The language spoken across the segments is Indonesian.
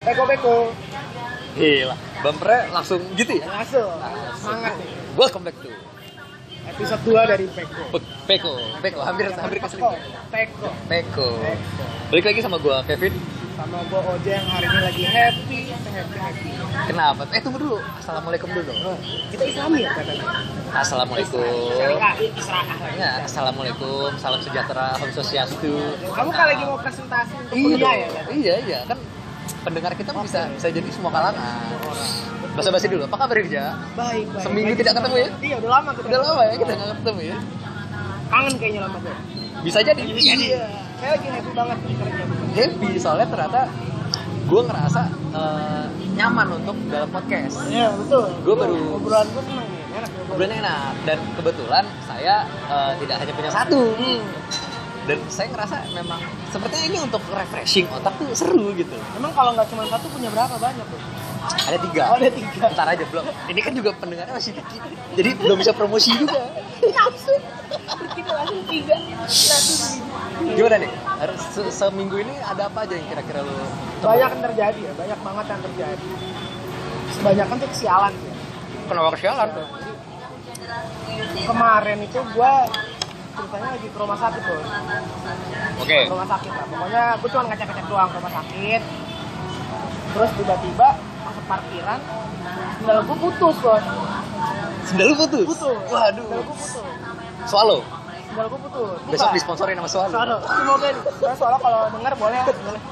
Peko-peko. Gila. Bumpernya langsung gitu ya. Langsung. Semangat nih. Welcome back to Episode 2 dari Peko. Pe- Peko. Peko hampir hampir Peko. keselip. Peko. Peko. Peko. Balik lagi sama gua Kevin. Sama gue Oja yang hari ini lagi happy, happy, happy. Oh, Kenapa? Eh tunggu dulu. Assalamualaikum dulu. Kita Islami ya katanya. Assalamualaikum. Syariah, Israel lagi. Ya, assalamualaikum. Salam sejahtera. Om swastiastu. Kamu kalau lagi mau presentasi untuk Iya, kuliah ya? katanya? iya, iya. Kan pendengar kita bisa bisa jadi semua kalangan. Basa basi dulu. Apa kabar Rija? Baik, baik. Seminggu Lagi tidak ketemu ya? Iya, udah lama kita. Udah lama ya kita nggak ketemu ya. Kangen kayaknya lama gue. Bisa jadi. Iya. Saya lagi happy banget nih kerja. Happy soalnya ternyata gue ngerasa eh, nyaman untuk dalam podcast. Iya, betul. Gua baru- Obrolan gue seneng nih. Enak ya. gue. Kemudian enak dan kebetulan saya eh, tidak hanya punya satu dan saya ngerasa memang sepertinya ini untuk refreshing otak tuh seru gitu Emang kalau nggak cuma satu punya berapa banyak tuh? ada Oh, tiga ada tiga. ntar aja belum ini kan juga pendengarnya masih dikit jadi belum bisa promosi juga Langsung. Kita langsung tiga. Langsung tiga. gimana nih Harus se- seminggu ini ada apa aja yang kira-kira lo Banyak yang terjadi ya, banyak banget yang terjadi. Sebanyakan tuh kesialan sih. kenapa kesialan tuh Kemarin itu gue ceritanya lagi ke rumah sakit tuh. oke Ke rumah sakit lah. Pokoknya gue cuma ngecek-ngecek doang ke rumah sakit. Terus tiba-tiba masuk parkiran, sendal gue putus bos. sendal lu putus Putus. Sendal waduh gue putus. swallow Sendal gue putus. besok Buka. disponsorin sama swallow Solo. Semoga nih. Karena Solo kalau denger boleh. boleh.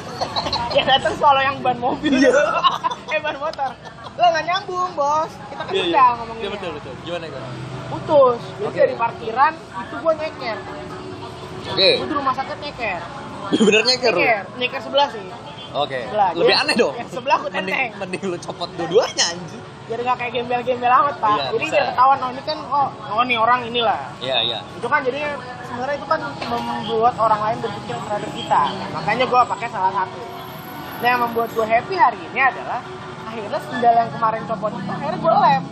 yang datang Solo yang ban mobil. Iya. eh ban motor. Lo nggak nyambung bos. Kita kan Iya, udah iya. Iya, ngomongin. betul betul gimana gimana Putus. Jadi Oke. dari parkiran itu gua nyeker. oke Gua di rumah sakit nyeker. benernya keru Nyeker. Nyeker sebelah sih. Oke. Sebelah. Lebih Jadi, aneh dong. yang sebelah aku mending, tenteng. mending lu copot dua-duanya anjing. Biar nggak kayak gembel-gembel amat pak. Iya, Jadi bisa. biar ketahuan oh ini kan oh oh nih orang inilah. Iya, iya. itu kan jadinya sebenarnya itu kan membuat orang lain berpikir terhadap kita Nah, makanya gue pakai salah satu nah yang membuat gue happy hari ini adalah akhirnya sendal yang kemarin copot itu akhirnya gue lem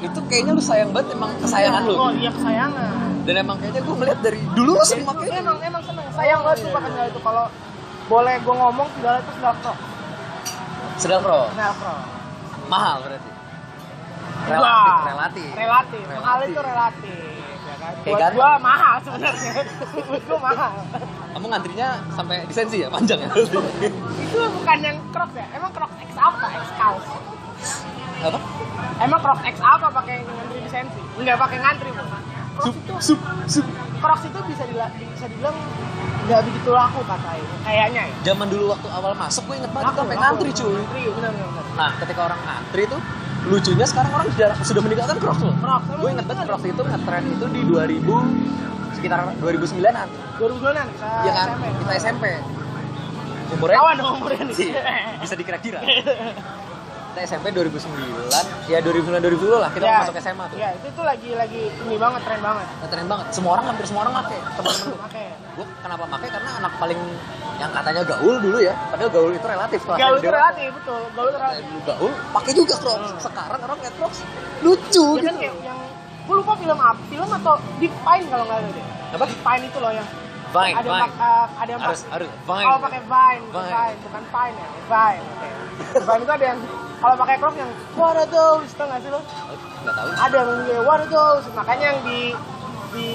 Itu kayaknya lu sayang banget emang kesayangan lu. oh iya kesayangan Dan emang kayaknya gue melihat dari dulu lu Jadi, sering makanya. emang emang seneng sayang banget tuh pakai sendal itu kalau boleh gue ngomong sendal itu sendal kro Sedang pro. sendal kro gitu. Mahal berarti. Relatif, Wah, relatif. relatif mahal Relatif. itu relatif ya kan? Kayak buat ganteng. gue mahal sebenarnya buat gue mahal Kamu ngantrinya sampai disensi ya, panjang ya. itu bukan yang crocs ya emang crocs X apa X kaos Apa? Emang Crocs X apa pakai ngantri lisensi? Enggak pakai ngantri, Bu. Crocs Sup, itu sup, sup. Crocs itu bisa dila, bisa dibilang nggak begitu laku katanya. Kayaknya ya. Zaman dulu waktu awal masuk gue inget banget Laku, sampai laku, ngantri laku. cuy. Ngantri, benar benar. benar. Nah, ketika orang ngantri tuh lucunya sekarang orang sudah sudah meninggalkan crocs loh. Crocs, emang Gue inget banget crocs itu ngetren itu di 2000 sekitar 2009-an. 2009 kita Iya kan? SMP. Kita SMP. Umurnya Kawan dong umurnya nih. sih bisa dikira-kira. Kita SMP 2009, ya 2009 2010 lah kita Ya, mau masuk SMA tuh. Iya, itu tuh lagi lagi ini banget tren banget. Ngetren banget. Semua orang hampir semua orang pakai. Teman-teman gue. Oke. Gue kenapa pakai karena anak paling yang katanya gaul dulu ya. Padahal gaul itu relatif kelas Gaul itu dewasa. relatif, betul. Gaul itu Nah, relatif. dulu gaul, pakai juga Crocs. Hmm. Sekarang orang lihat Crocs lucu Ya kan gitu. kayak yang gue lupa film apa, film atau Deep Pine kalau nggak ada deh. Apa? Deep Pine itu loh yang Vine, ada Vine. pak- eh, ada yang Harus pak- harus Vine. Oh pakai vine, Vine. vine, bukan pine ya, vine. oke. Vine itu ada yang kalau pakai croc yang what are those, tau gak sih lo? Oh, Nggak tahu. Ada yang bunyi, what are those, makanya yang di di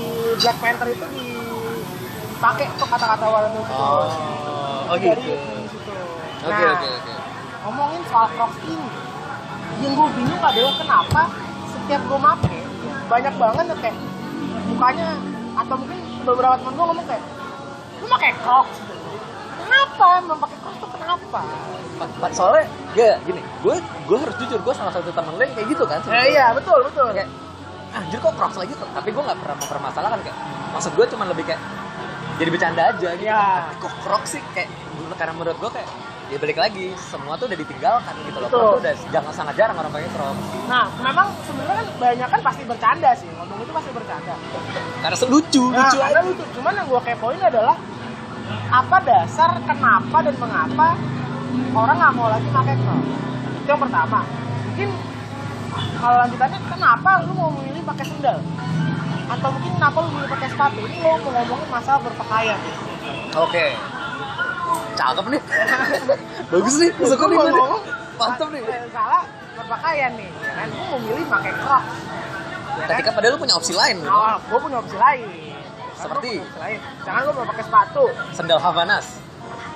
Black Panther itu di dipakai tuh kata-kata what are those. itu. Oh, oh Dari- gitu. dari situ. Oke Nah, oke oke. ngomongin soal crocs ini, yang gue bingung adalah kenapa setiap gue make banyak banget yang kayak mukanya atau mungkin beberapa temen gue ngomong kayak lu pakai crocs gitu. kenapa emang pakai crocs tuh kenapa Pa- pa- soalnya gak gini gue gue harus jujur gue salah satu temen lo yang kayak gitu kan Eh, iya betul betul kayak anjir kok cross lagi kok tapi gue nggak pernah mempermasalahkan kayak maksud gue cuma lebih kayak jadi bercanda aja gitu Iya. tapi kok cross sih kayak karena menurut gue kayak ya balik lagi semua tuh udah ditinggalkan gitu loh Betul. Crocs tuh udah jangan sangat jarang orang pakai cross nah memang sebenarnya kan banyak kan pasti bercanda sih ngomong itu pasti bercanda karena lucu nah, lucu aja karena lucu cuman yang gue kepoin adalah apa dasar kenapa dan mengapa orang nggak mau lagi pakai crocs itu yang pertama mungkin kalau lanjutannya kenapa lu mau memilih pakai sendal atau mungkin kenapa lu memilih pakai sepatu ini lo mau ngomongin masalah berpakaian oke cakep nih bagus nih suka Iya, nih Gua gue nih. ngomong, mantap nih eh, Salah berpakaian nih, ya kan? Gue memilih pakai crocs. Ya kan? ketika padahal lu punya opsi lain loh. Awal gue punya opsi lain. Seperti? Gua punya opsi lain. Jangan gue mau pakai sepatu. sendal Havanas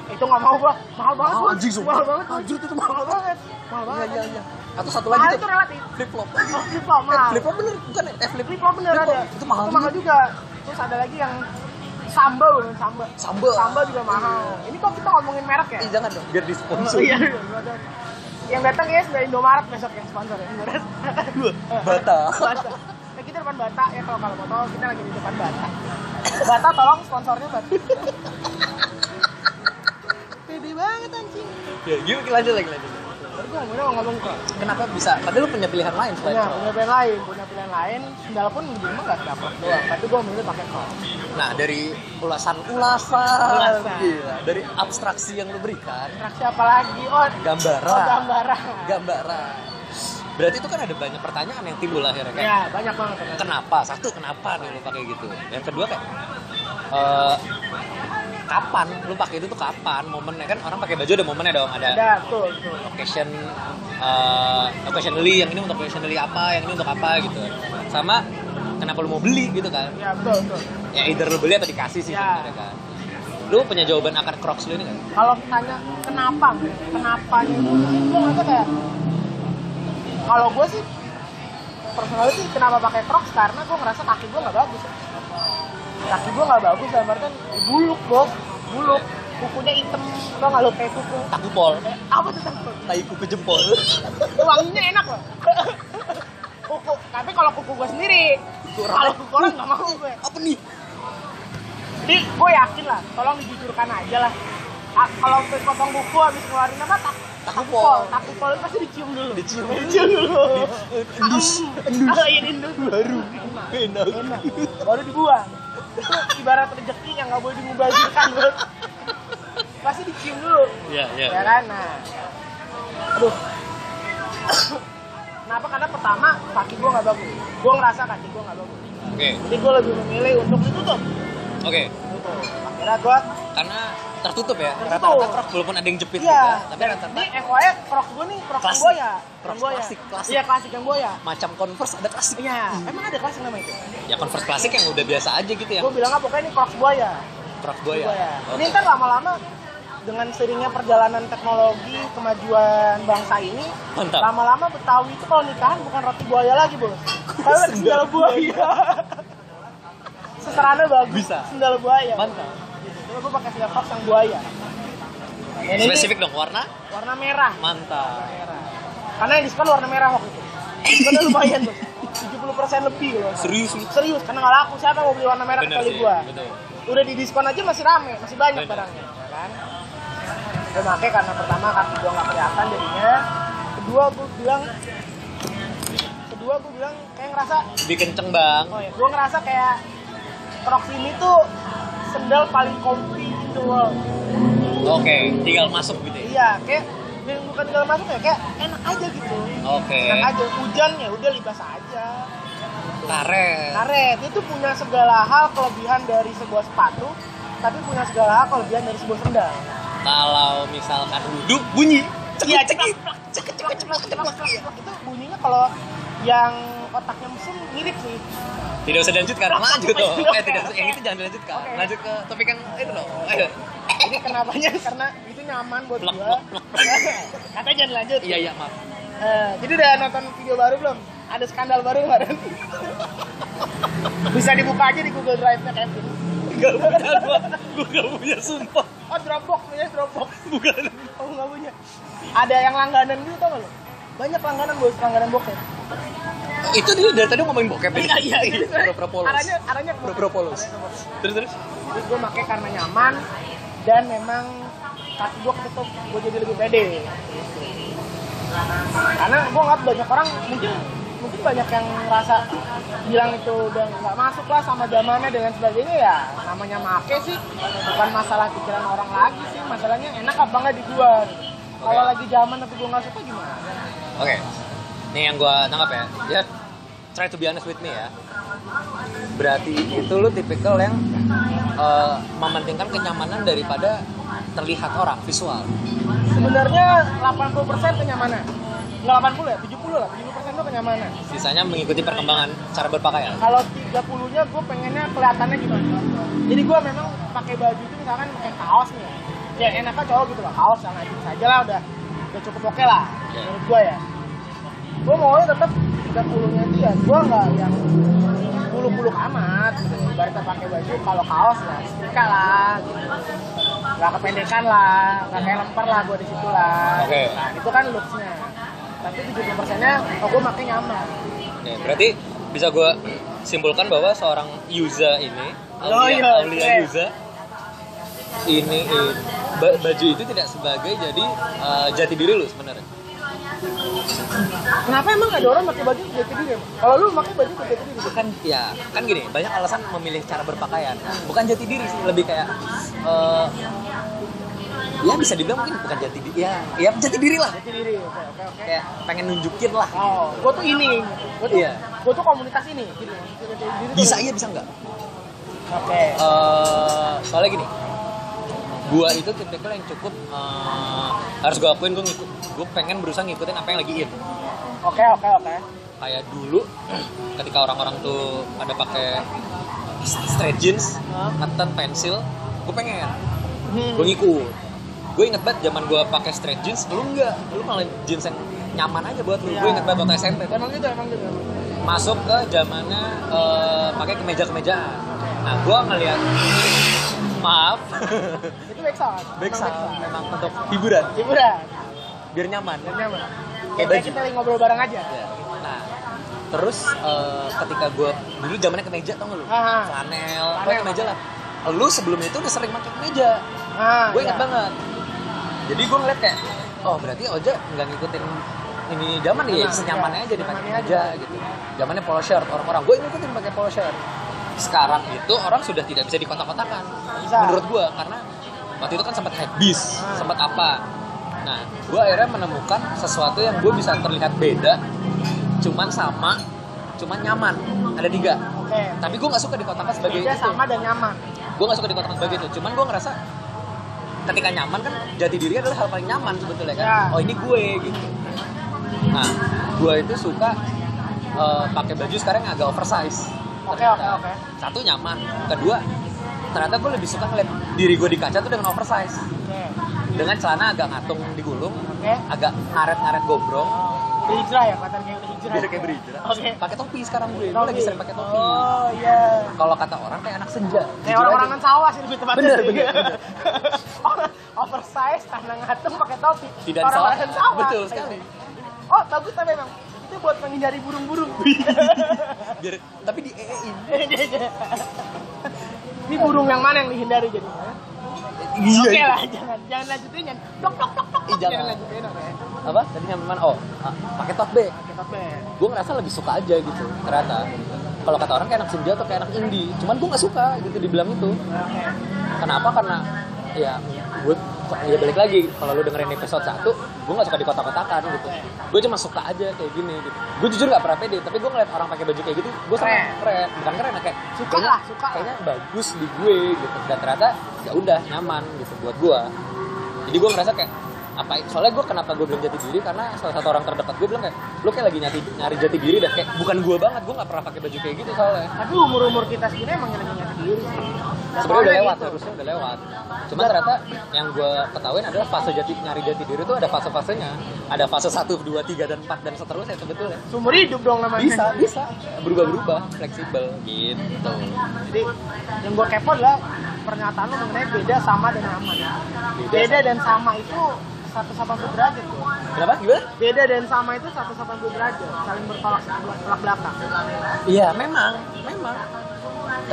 Itu nggak mau gue. Mahal banget. Mahal, gua. anjing, sumpah. Mahal banget. gua. Anjir, itu tuh mahal. mahal banget. Mahal banget. Iya, iya, iya. atau satu Mahal lagi itu tuh relatif. flip flop Oh, flip flop eh, mahal. flip flop bener bukan ya? eh flip Flip flop bener Flip flop. ada. Itu mahal juga. Terus ada lagi yang sambal, sambal. Sambal. Iya. Sambal juga mahal. Ini kok kita ngomongin merek ya? Ih, jangan dong biar disponsor Iya. Yang datang ya dari Indomaret besok yang sponsor ya. Indomaret. Bata. Bata. Nah, kita depan Bata ya kalau kalau mau tahu kita lagi di depan Bata. Bata tolong sponsornya Bata. Pede banget anjing. ya gini lanjut lagi lanjut Baru gue ngomongnya mau ngomong kok. kenapa bisa padahal lu punya pilihan lain selain Punya, celana. punya pilihan lain, punya pilihan lain. Sendal pun di rumah nggak dapat doang. Tapi gue milih pakai kol. Nah, dari ulasan-ulasan, Ulasan. gila, dari abstraksi yang lu berikan, Interaksi apa lagi? Oh, gambaran, oh gambaran. gambaran. Berarti itu kan ada banyak pertanyaan yang timbul akhirnya kan? kayak, Ya, banyak banget. kenapa? Satu, kenapa nih lu pakai gitu? Yang kedua kayak, eh, kapan lu pakai itu tuh kapan momennya kan orang pakai baju ada momennya dong ada, Ada, tuh, tuh. occasion eh, occasionally yang ini untuk occasionally apa yang ini untuk apa gitu sama kenapa lu mau beli gitu kan Ya, betul, betul. ya either lu beli atau dikasih sih Ya. sebenarnya kan lu punya jawaban akan Crocs lu ini kan kalau tanya kenapa kenapanya itu gue ngerasa kayak kalau gue sih personal sih kenapa pakai crocs karena gue ngerasa kaki gue nggak bagus kaki gue nggak bagus dalam artian buluk bos buluk kukunya hitam lo nggak lo kayak kuku taku pol Eh, apa tuh Sam? taiku ke jempol wanginya enak loh kuku tapi kalau kuku gue sendiri kalau kuku orang nggak mau gue apa nih Jadi gue yakin lah, tolong dijujurkan aja lah. A- kalau ke potong kuku habis ngeluarin apa tak Takupol. takupol, takupol itu pasti dicium dulu. Dicium. dicium dulu. endus endus Ah, iya, endus. baru enak Enak. Baru dibuang. Itu ibarat rezeki yang nggak boleh dimubazirkan bro. Pasti dicium dulu. ya ya Ya kan? Nah. Aduh. Kenapa? Karena pertama kaki gue nggak bagus. Gue ngerasa kaki gue nggak bagus. oke Jadi gue lebih memilih untuk ditutup. oke Tutup. Akhirnya gue karena tertutup ya Tertutup. rata-rata Crocs walaupun ada yang jepit Iya. juga tapi rata-rata Ini FYI crocs gue nih crocs yang Klasik. Goya. Crocs Yang Goya. klasik, klasik. Hmm. Iya klasik yang Goya. macam Converse ada klasik Iya. Emang ada klasik nama itu? ya Converse klasik yang udah biasa aja gitu ya Gue bilangnya pokoknya ini crocs Goya. Crocs boy ya Goya. Oke. Ini ntar lama-lama dengan seringnya perjalanan teknologi kemajuan bangsa ini Mantap. lama-lama Betawi itu kalau nikahan bukan roti buaya lagi bos tapi ada sendal Sendal buaya seserana bagus Bisa. sendal buaya mantap Coba gue pakai sendal crocs yang buaya Dan Ya, ini spesifik dong warna warna merah mantap merah. Karena yang diskon warna merah waktu itu. Diskonnya lumayan bos. 70% lebih loh. serius lu Serius, karena nggak laku siapa mau beli warna merah Bener kecuali sih, gua. betul. Udah di diskon aja masih rame, masih banyak Bener. barangnya, ya kan? Gue pakai karena pertama kaki gua nggak kelihatan jadinya. Kedua gua bilang, kedua gua bilang kayak ngerasa, lebih kenceng bang oh ya, gua ngerasa kayak Crocs ini tuh sendal paling kompi in the world. oke tinggal masuk gitu ya Iya, kayak bukan tinggal masuk ya, kayak enak aja gitu. oke Enak aja hujan ya udah libas aja. karet Karet itu punya segala hal kelebihan dari sebuah sepatu, tapi punya segala hal kelebihan dari sebuah sendal. kalau misalkan duduk bunyi Iya, cekik, Iya. cekik, cekik, cekik, cekik, cekik. Itu bunyinya kalau yang otaknya mesin mirip sih. tidak usah dilanjutkan lanjut dong Oke, eh tidak usah oke. yang itu jangan dilanjutkan Iya. Oke. lanjut ke topik yang itu dong ayo Ini kenapanya? Karena itu nyaman buat Plak, gua. plak, Kata jangan lanjut. iya iya maaf Eh, jadi udah nonton video baru belum? Ada skandal baru kemarin. Bisa dibuka aja di Google Drive-nya Kevin. gak punya gua gua gak punya sumpah Oh, Dropbox, punya Dropbox. bukan Oh nggak punya. Ada yang langganan gitu tau gak lo? Banyak langganan bos, langganan bokep. itu dia dari tadi ngomongin bokep ya pura-pura polos Iya. Arahnya, arahnya ke pura-pura bokep. polos terus terus Jadi gue pakai karena nyaman dan memang kaki gue ketutup, gue jadi lebih pede. Karena gue nggak banyak orang mungkin mungkin banyak yang ngerasa bilang itu udah nggak masuk lah sama zamannya dan lain sebagainya ya namanya make sih bukan masalah pikiran orang lagi sih masalahnya enak apa nggak di gua kalau Oke. lagi zaman tapi gue nggak suka gimana Oke. Nih yang gua tangkap ya. Ya. Try to be honest with me ya. Berarti itu lu tipikal yang eh, mementingkan kenyamanan daripada terlihat orang visual Sebenarnya 80% kenyamanan. Nggak 80 ya, 70 lah. 70% itu kenyamanan. sisanya mengikuti perkembangan cara berpakaian Kalau 30-nya gue pengennya kelihatannya gimana. Jadi gue memang pakai baju itu misalkan pakai kaos nih. Ya Ya, enaknya cowok gitu lah, kaos sama jeans aja lah udah udah cukup oke lah Iya. menurut gue ya. Gue mau tetap 30-nya itu ya gue nggak yang bulu-bulu amat gitu. Ibaratnya pakai baju kalau kaos lah, setrika lah gitu. Gak kependekan lah, gak kayak lempar lah gue di situ lah. Oke. Nah, itu kan looks-nya. Tapi 70%-nya oh, gue pakai nyaman. Nih, berarti bisa gue simpulkan bahwa seorang user ini, Oh, iya, Aulia, Aulia iya. user, ini eh, ba- baju itu tidak sebagai jadi eh, jati diri lu sebenarnya. Kenapa emang ada orang pakai baju jati diri? emang? Kalau lu pakai baju buat jati diri, Bukan, ya kan gini, banyak alasan memilih cara berpakaian. Bukan jati diri sih, lebih kayak eh, ya bisa dibilang mungkin bukan jati diri, ya, ya jati diri lah. jati diri. Oke, oke, oke. Kayak pengen nunjukin lah. Oh, gua tuh ini. Gua tuh, Iya. gua tuh komunitas ini. Gitu. Jati diri tuh- Bisa iya, bisa enggak? Oke. eh soalnya gini gua itu tipikal yang cukup eh, harus gua akuin gua ngikut gua pengen berusaha ngikutin apa yang lagi in Oke, oke, oke. kayak dulu ketika orang-orang tuh pada pakai straight jeans Hah? keten pensil gua pengen Hmm. gua ngikut gue inget banget zaman gua pakai straight jeans lu enggak lu malah jeans yang nyaman aja buat lu Iya. gue inget banget waktu SMP kan Emang gitu, emang gitu. emang. masuk ke zamannya eh, pakai kemeja-kemejaan nah gua ngeliat maaf Itu backsound. Iya, Beksa memang untuk hiburan Hiburan. biar nyaman. Dan nyaman. Kayak Oke, baju. kita lagi ngobrol bareng aja. Ya. Nah, terus eh, ketika gue dulu zamannya kemeja tau gak lu? Aha. Flanel, Flanel. pokoknya kemeja lah. Lu sebelumnya itu udah sering pakai kemeja. Ah, Gue inget iya. banget. Jadi gue ngeliat kayak, oh berarti Oja nggak ngikutin ini zaman ya, Nyaman, senyamannya iya. aja dipakai Nyamannya kemeja gitu. Zamannya polo shirt orang-orang. Gue ngikutin pakai polo shirt. Sekarang itu orang sudah tidak bisa dikotak-kotakan. Bisa. Menurut gue karena waktu itu kan sempat habis, Ah. sempat apa. Nah, gue akhirnya menemukan sesuatu yang gue bisa terlihat beda, cuman sama, cuman nyaman. Ada tiga. Oke. Tapi gue nggak suka dikotakkan sebagai Beda itu. sama dan nyaman. Gue nggak suka dikotakkan sebagai itu. Cuman gue ngerasa ketika nyaman kan jati diri adalah hal paling nyaman sebetulnya kan. Ya. Oh ini gue gitu. Nah, gue itu suka eh, pakai baju sekarang yang agak oversize. Oke, Ternyata. oke, oke. Satu nyaman. Kedua, ternyata gue lebih suka ngeliat diri gue di kaca tuh dengan oversize Oke. dengan celana agak ngatung digulung Oke. agak ngaret-ngaret gombrong Berhijrah ya, kelihatan kayak udah hijrah. biar kayak berhijrah Oke. pakai topi sekarang gue gue Topi. lagi sering pakai topi Oh, iya. kalau kata orang kayak anak senja Kayak orang-orang kan sawah sih lebih tepatnya. Bener, sih. bener, bener. Orang oversize, karena ngatung pakai topi. Tidak Orang-orang salah. sawah. Betul sekali. Oh, bagus tapi memang. Itu buat menghindari burung-burung. biar tapi di E EEIN Ini burung yang mana yang dihindari jadi? iya Oke iya. lah, jangan jangan lanjutin jangan. Tok tok tok tok. Ih, tok, jangan. lanjutin oke. apa tadi nyampe mana oh ah, pakai top bag Pakai topi. gue ngerasa lebih suka aja gitu ternyata kalau kata orang kayak anak senja atau kayak anak indie cuman gue nggak suka gitu dibilang itu Oke. kenapa karena ya gue ya balik lagi kalau lu dengerin episode 1 gue nggak suka dikotak-kotakan gitu gue cuma suka aja kayak gini gitu gue jujur nggak pernah pede tapi gue ngeliat orang pakai baju kayak gitu gue Keren. seneng keren bukan keren kayak Suka kayaknya- lah, suka lah. kayaknya bagus di gue gitu dan ternyata ya udah nyaman gitu buat gue jadi gue ngerasa kayak apa soalnya gue kenapa gue bilang jati diri karena salah satu orang terdekat gue bilang kayak lu kayak lagi nyari nyari jati diri dah kayak bukan gue banget gue nggak pernah pakai baju kayak gitu soalnya Tapi umur-umur kita segini emang yang namanya sendiri sih. Dan sebenarnya udah soalnya lewat gitu. harusnya udah lewat cuma ternyata yang gue ketahuin adalah fase jati nyari jati diri itu ada fase fasenya ada fase 1, 2, 3, dan 4 dan seterusnya sebetulnya Sumber hidup dong namanya. bisa bisa berubah berubah fleksibel gitu Jadi yang gue kepo adalah pernyataan lu mengenai beda sama dan aman. Beda, dan sama itu 180 derajat tuh. kenapa gimana Beda dan sama itu 180 derajat, saling bertolak belak belakang. iya memang memang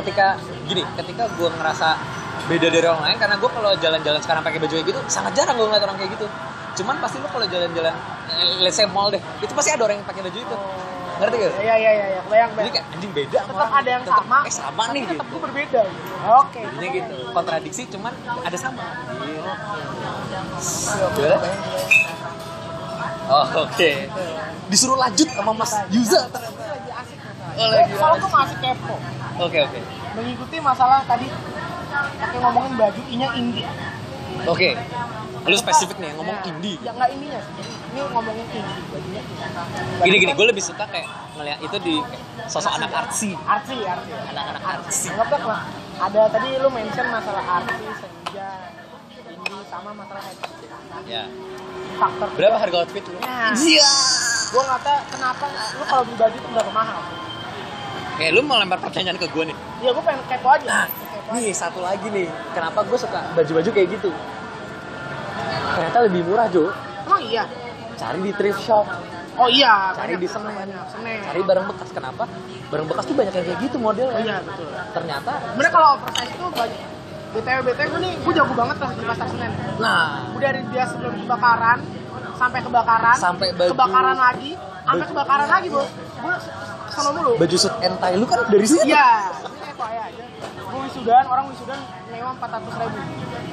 ketika gini ketika gue ngerasa beda dari orang lain karena gue kalau jalan-jalan sekarang pakai baju kayak gitu sangat jarang gue ngeliat orang kayak gitu cuman pasti lo kalau jalan-jalan eh, let's say mall deh itu pasti ada orang yang pakai baju itu ngerti gak? Iya iya iya, ya, bayang Jadi bayang. kayak anjing beda sama Tetap orang. ada yang Tetap, sama. Eh sama nih Tetap gitu. gue berbeda. gitu. Oke. Jadinya gitu. Kontradiksi cuman ada sama. Oke. Gimana? Oh, oke. Disuruh lanjut sama Mas Yuza ternyata. Lagi asik masalah. Oh, lagi Eh, Kalau asik. gue masih kepo, Oke, oke. mengikuti masalah tadi pakai ngomongin baju inya indie. Oke. Lu spesifik nih ngomong Nah, indie. Ya nggak ininya sih. Ini ngomongin indie. Bajunya Gini gini, gue lebih suka kayak ngeliat itu di sosok anak artsy. artsy, artsy. Anak-anak artsy. Anggaplah lah. Ada tadi lu mention masalah artsy, senja, indie sama masalah headset. Ya. Faktor Berapa harga outfit lu? Nah. Iya. Gue ngata kenapa lu kalau beli baju tuh nggak mahal? Oke, lu mau lempar pertanyaan ke gue nih. Ya gue pengen kepo aja. Nah. Kepo aja. Nih, satu lagi nih. Kenapa gue suka baju-baju kayak gitu? Ternyata lebih murah, Jo. Emang iya? Cari di thrift shop, Oh iya, Cari di Senen. banyak Senen. cari barang bekas. Kenapa? Barang bekas tuh banyak yang kayak gitu Oh, modelnya. iya, betul. Ternyata, Sebenernya kalau oversize tuh banyak. BTW, BTW gue nih, gue jago banget lah di pasar Senen. nah, Gue dari dia sebelum kebakaran, sampai kebakaran, Sampai baju- kebakaran lagi, sampai baju- kebakaran lagi bos. Gue sama mulu. baju suit and tie lu kan dari situ. Iya, ini kayak kok ya aja. Gue wisudan, orang wisudan nyewa 400 ribu.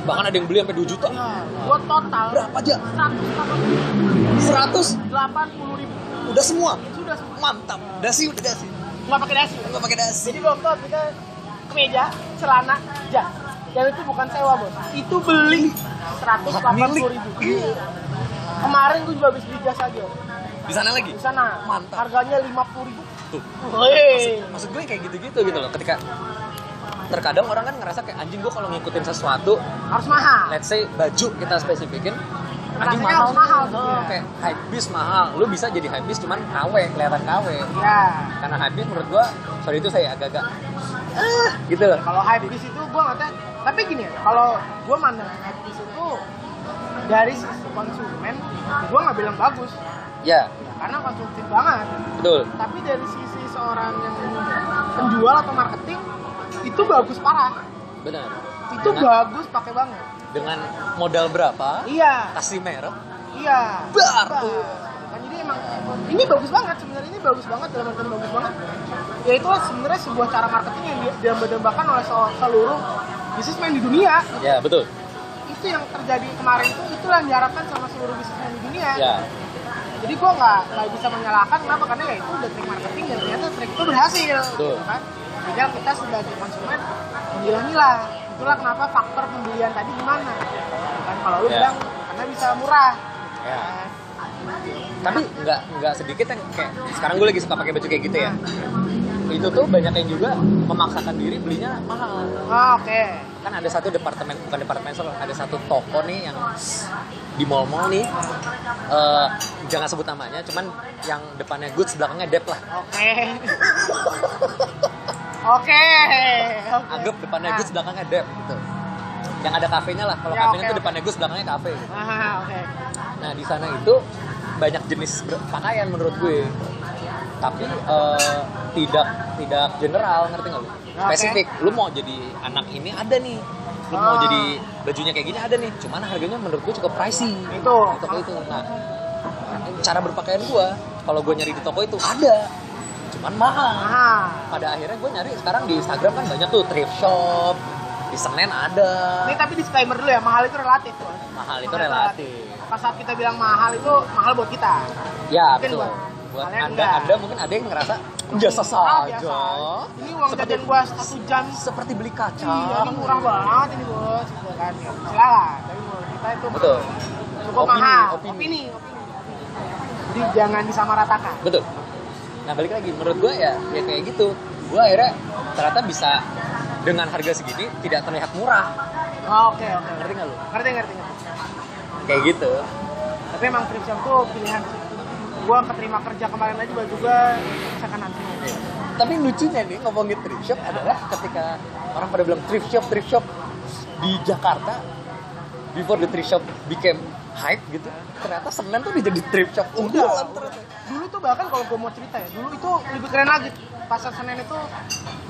Bahkan ada yang beli sampai 2 juta. Nah, gue total Berapa aja? 180 100 ribu. udah semua. Sudah, Mantap. Dasi udah dasi. nggak pakai dasi. Enggak pakai dasi. Jadi waktu kita kemeja, celana, jas. Dan itu bukan sewa bos, itu beli 180 ribu. Milik. Iya. Kemarin gue juga habis beli jas aja Di sana lagi. di sana. Mantap. Harganya 50 ribu. Tuh. Woi. maksud gue kayak gitu-gitu gitu loh ketika terkadang orang kan ngerasa kayak anjing gue kalau ngikutin sesuatu Harus mahal. let's say baju kita spesifikin anjing Rasanya mahal harus mahal, nih. gitu ya. kayak hype mahal lu bisa jadi hype cuman KW kelihatan KW Ya. karena hype menurut gue sorry itu saya agak-agak ah, gitu loh Kalau hype di situ gue nggak Tapi gini, ya, kalau gue mandang hype di situ dari sisi konsumen, gue nggak bilang bagus ya karena konsumtif banget. betul Tapi dari sisi seorang yang penjual atau marketing itu bagus parah. benar Itu dengan, bagus pakai banget. dengan modal berapa Iya, kasih merek iya. Bar. Bar. Kan jadi emang ini bagus banget sebenarnya ini bagus banget dalam artian bagus banget. Ya itu sebenarnya sebuah cara marketing yang diambil-dambakan oleh se- seluruh bisnismen di dunia. ya betul Itu yang terjadi kemarin itu itulah yang diharapkan sama seluruh bisnismen di dunia. ya Jadi gua nggak nggak bisa menyalahkan kenapa karena ya itu udah trik marketing dan ternyata trik itu berhasil. Betul. Gitu kan? Tinggal kita sebagai konsumen memilah-milah. Itulah kenapa faktor pembelian tadi gimana. Kan kalau lu Ya. bilang karena bisa murah. ya Nah, tapi nggak nggak sedikit yang kayak sekarang gue lagi suka pakai baju Nah, kayak gitu ya itu tuh banyak yang juga memaksakan diri belinya mahal Oh, Oke. kan ada satu departemen bukan departemen store ada satu toko nih yang di mall-mall nih eh, jangan sebut namanya cuman yang depannya goods belakangnya dep lah Oke. Oke. Oke. anggap depannya Ah. goods belakangnya dep gitu yang ada kafenya lah kalau Ya, kafenya oke, tuh oke. depannya goods belakangnya kafe gitu. Ah, oke. Nah di sana itu banyak jenis ber- pakaian menurut gue, tapi eh, tidak tidak general ngerti nggak lu? Spesifik, lu mau jadi anak ini ada nih, lu Ah. mau jadi bajunya kayak gini ada nih, cuman harganya menurut gue cukup pricey. Itu. Di toko itu. Nah cara berpakaian gue, kalau gue nyari di toko itu ada, cuman mahal. Ah. Pada akhirnya gue nyari sekarang di Instagram kan banyak tuh thrift shop, di Senen ada. Ini tapi disclaimer dulu ya, mahal itu relatif. Bos. Mahal itu relatif. kan Pas saat kita bilang mahal itu mahal buat kita. Ya Mungkin betul. buat Buat kalian anda, enggak. anda mungkin ada yang ngerasa biasa Ah, saja. biasa. Ini uang seperti, jajan gua satu jam. seperti beli Iya, kacang. ini murah banget ini bos, gitu kan. Ya, silalah. Tapi menurut kita itu Betul, cukup Opini, mahal. opini. opini, opini. Jadi jangan disamaratakan. betul. Nah balik lagi, menurut gue ya, ya kayak gitu. Gue akhirnya ternyata bisa dengan harga segini tidak terlihat murah. Oh, Oke, oke. Ngerti nggak lu? Ngerti, ngerti, ngerti. Kayak gitu. tapi emang thrift shop tuh pilihan sih gue keterima kerja kemarin aja kan baju gue second hand semua. Tapi lucunya nih ngomongin thrift shop adalah ketika orang pada bilang thrift shop, thrift shop di Jakarta before the thrift shop became hype gitu ternyata Senen tuh jadi thrift shop unggulan ternyata dulu tuh bahkan kalau gue mau cerita ya dulu itu lebih keren lagi pasar senen itu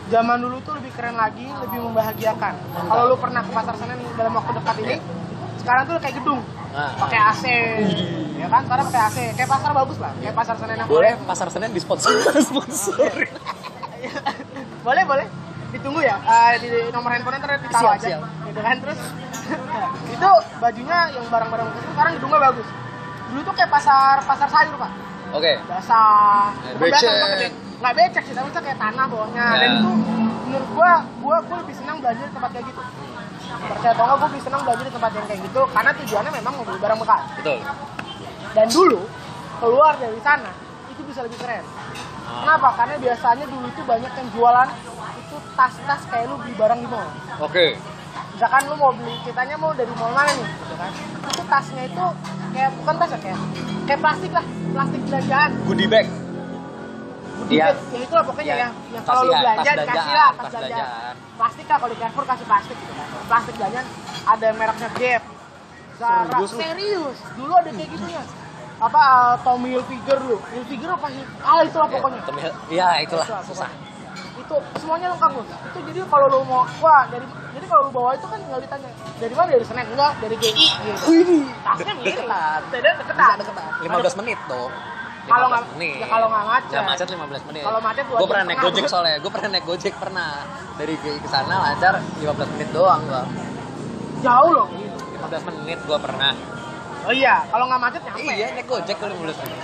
zaman dulu tuh lebih keren lagi lebih membahagiakan kalau lu pernah ke pasar senen dalam waktu dekat ini sekarang tuh kayak gedung Nah. pakai AC ya kan sekarang pakai AC kayak pasar bagus lah kayak pasar senen yang boleh pasar Senen di sponsor sponsor boleh boleh ditunggu ya Eh, di nomor handphone ntar ditaruh Siap, aja siap. gitu kan terus itu bajunya yang barang-barang khusus sekarang gedungnya bagus dulu tuh kayak pasar pasar sayur pak oke biasa Eh, Cuma biasa becek. bukan gede. nggak becek sih tapi itu kayak tanah bawahnya Ya. dan itu menurut gua gua gua lebih senang belanja di tempat kayak gitu percaya atau enggak gue lebih senang belanja di tempat yang kayak gitu karena tujuannya memang mau beli barang bekas betul dan dulu keluar dari sana itu bisa lebih keren Ah, kenapa karena biasanya dulu itu banyak yang jualan itu tas-tas kayak lu beli barang di mall oke misalkan lu mau beli kitanya mau dari mall mana nih gitu kan itu tasnya itu kayak bukan tas ya kayak kayak plastik lah plastik belanjaan goodie bag Iya. Iya. Ya itulah pokoknya Iya. ya. Yang kalau lu Kasihan, belanja tas belanjaan, dikasih lah tas tas belanja. belanjaan. Plastik lah kalau di Carrefour kasih plastik gitu kan. Plastik belanjaan ada mereknya Gap. Zara. Serius Serius. lu? Dulu ada kayak gitunya. Apa uh, Tommy Hilfiger lu? Hilfiger apa sih? Ah itulah pokoknya. Temil- ya Itulah itulah susah pokoknya. Itu semuanya lengkap Bos. Itu jadi kalau lu mau wah dari jadi kalau lu bawa itu kan tinggal ditanya dari mana dari Senen enggak dari GI gitu. Ini tasnya De- mirip. deketan. Tidak deketan. 15 menit tuh Kalau nggak- ya kalau nggak macet. Nggak macet 15 menit Kalau macet dua gue jam pernah naik setengah. gojek soalnya gue pernah naik gojek pernah dari GI ke sana lancar 15 menit doang gue Jauh loh. 15 menit gue pernah Oh iya, kalau nggak macet nyampe. iya naik gojek gue 15 menit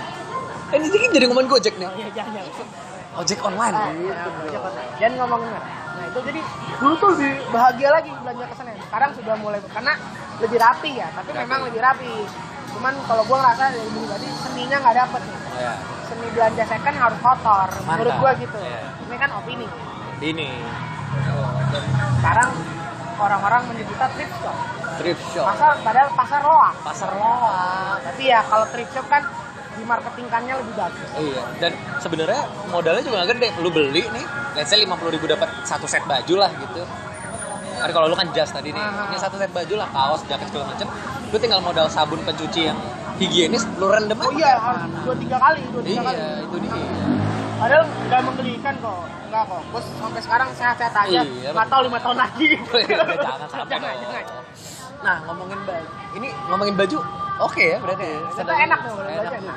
eh ini jadi jadi ngomongin gojek nih Oh iya, jangan. ojek online Ah, ya, belanja ke Senen. Jangan ngomongin merek. Nah itu jadi dulu tuh lebih bahagia lagi belanja ke Senen. Sekarang sudah mulai karena lebih rapi ya, tapi Rapi. memang lebih rapi. Cuman kalau gua ngerasa dari dulu tadi seninya nggak dapet nih. ya Seni belanja second harus kotor, menurut Mantap. gua gitu. Iya. Ini kan opini. ini Oh, Sekarang orang-orang menyebutnya thrift shop. trip shop Pasar padahal pasar loak. pasar loak Tapi ya kalau thrift shop kan di marketingkannya lebih bagus. Iya. Dan sebenarnya modalnya juga nggak gede. Lu beli nih, let's say 50 ribu dapat satu set baju lah gitu. Kan kalau lu kan jas tadi nih, Ah. ini satu set baju lah, kaos, jaket segala macem. Lu tinggal modal sabun pencuci yang higienis, lu rendem aja. Oh iya, harus dua tiga kali, dua tiga Iya, kali. itu dia. Padahal nggak menggelikan kok. Nggak kok. Bos sampai sekarang sehat-sehat aja. Iya, Nggak tahu lima tahun lagi. jangan sampai jangan, dong. jangan. Nah, ngomongin baju. Ini ngomongin baju oke ya berarti. ya? Kita Sedang- enak nih, ngomongin baju enak.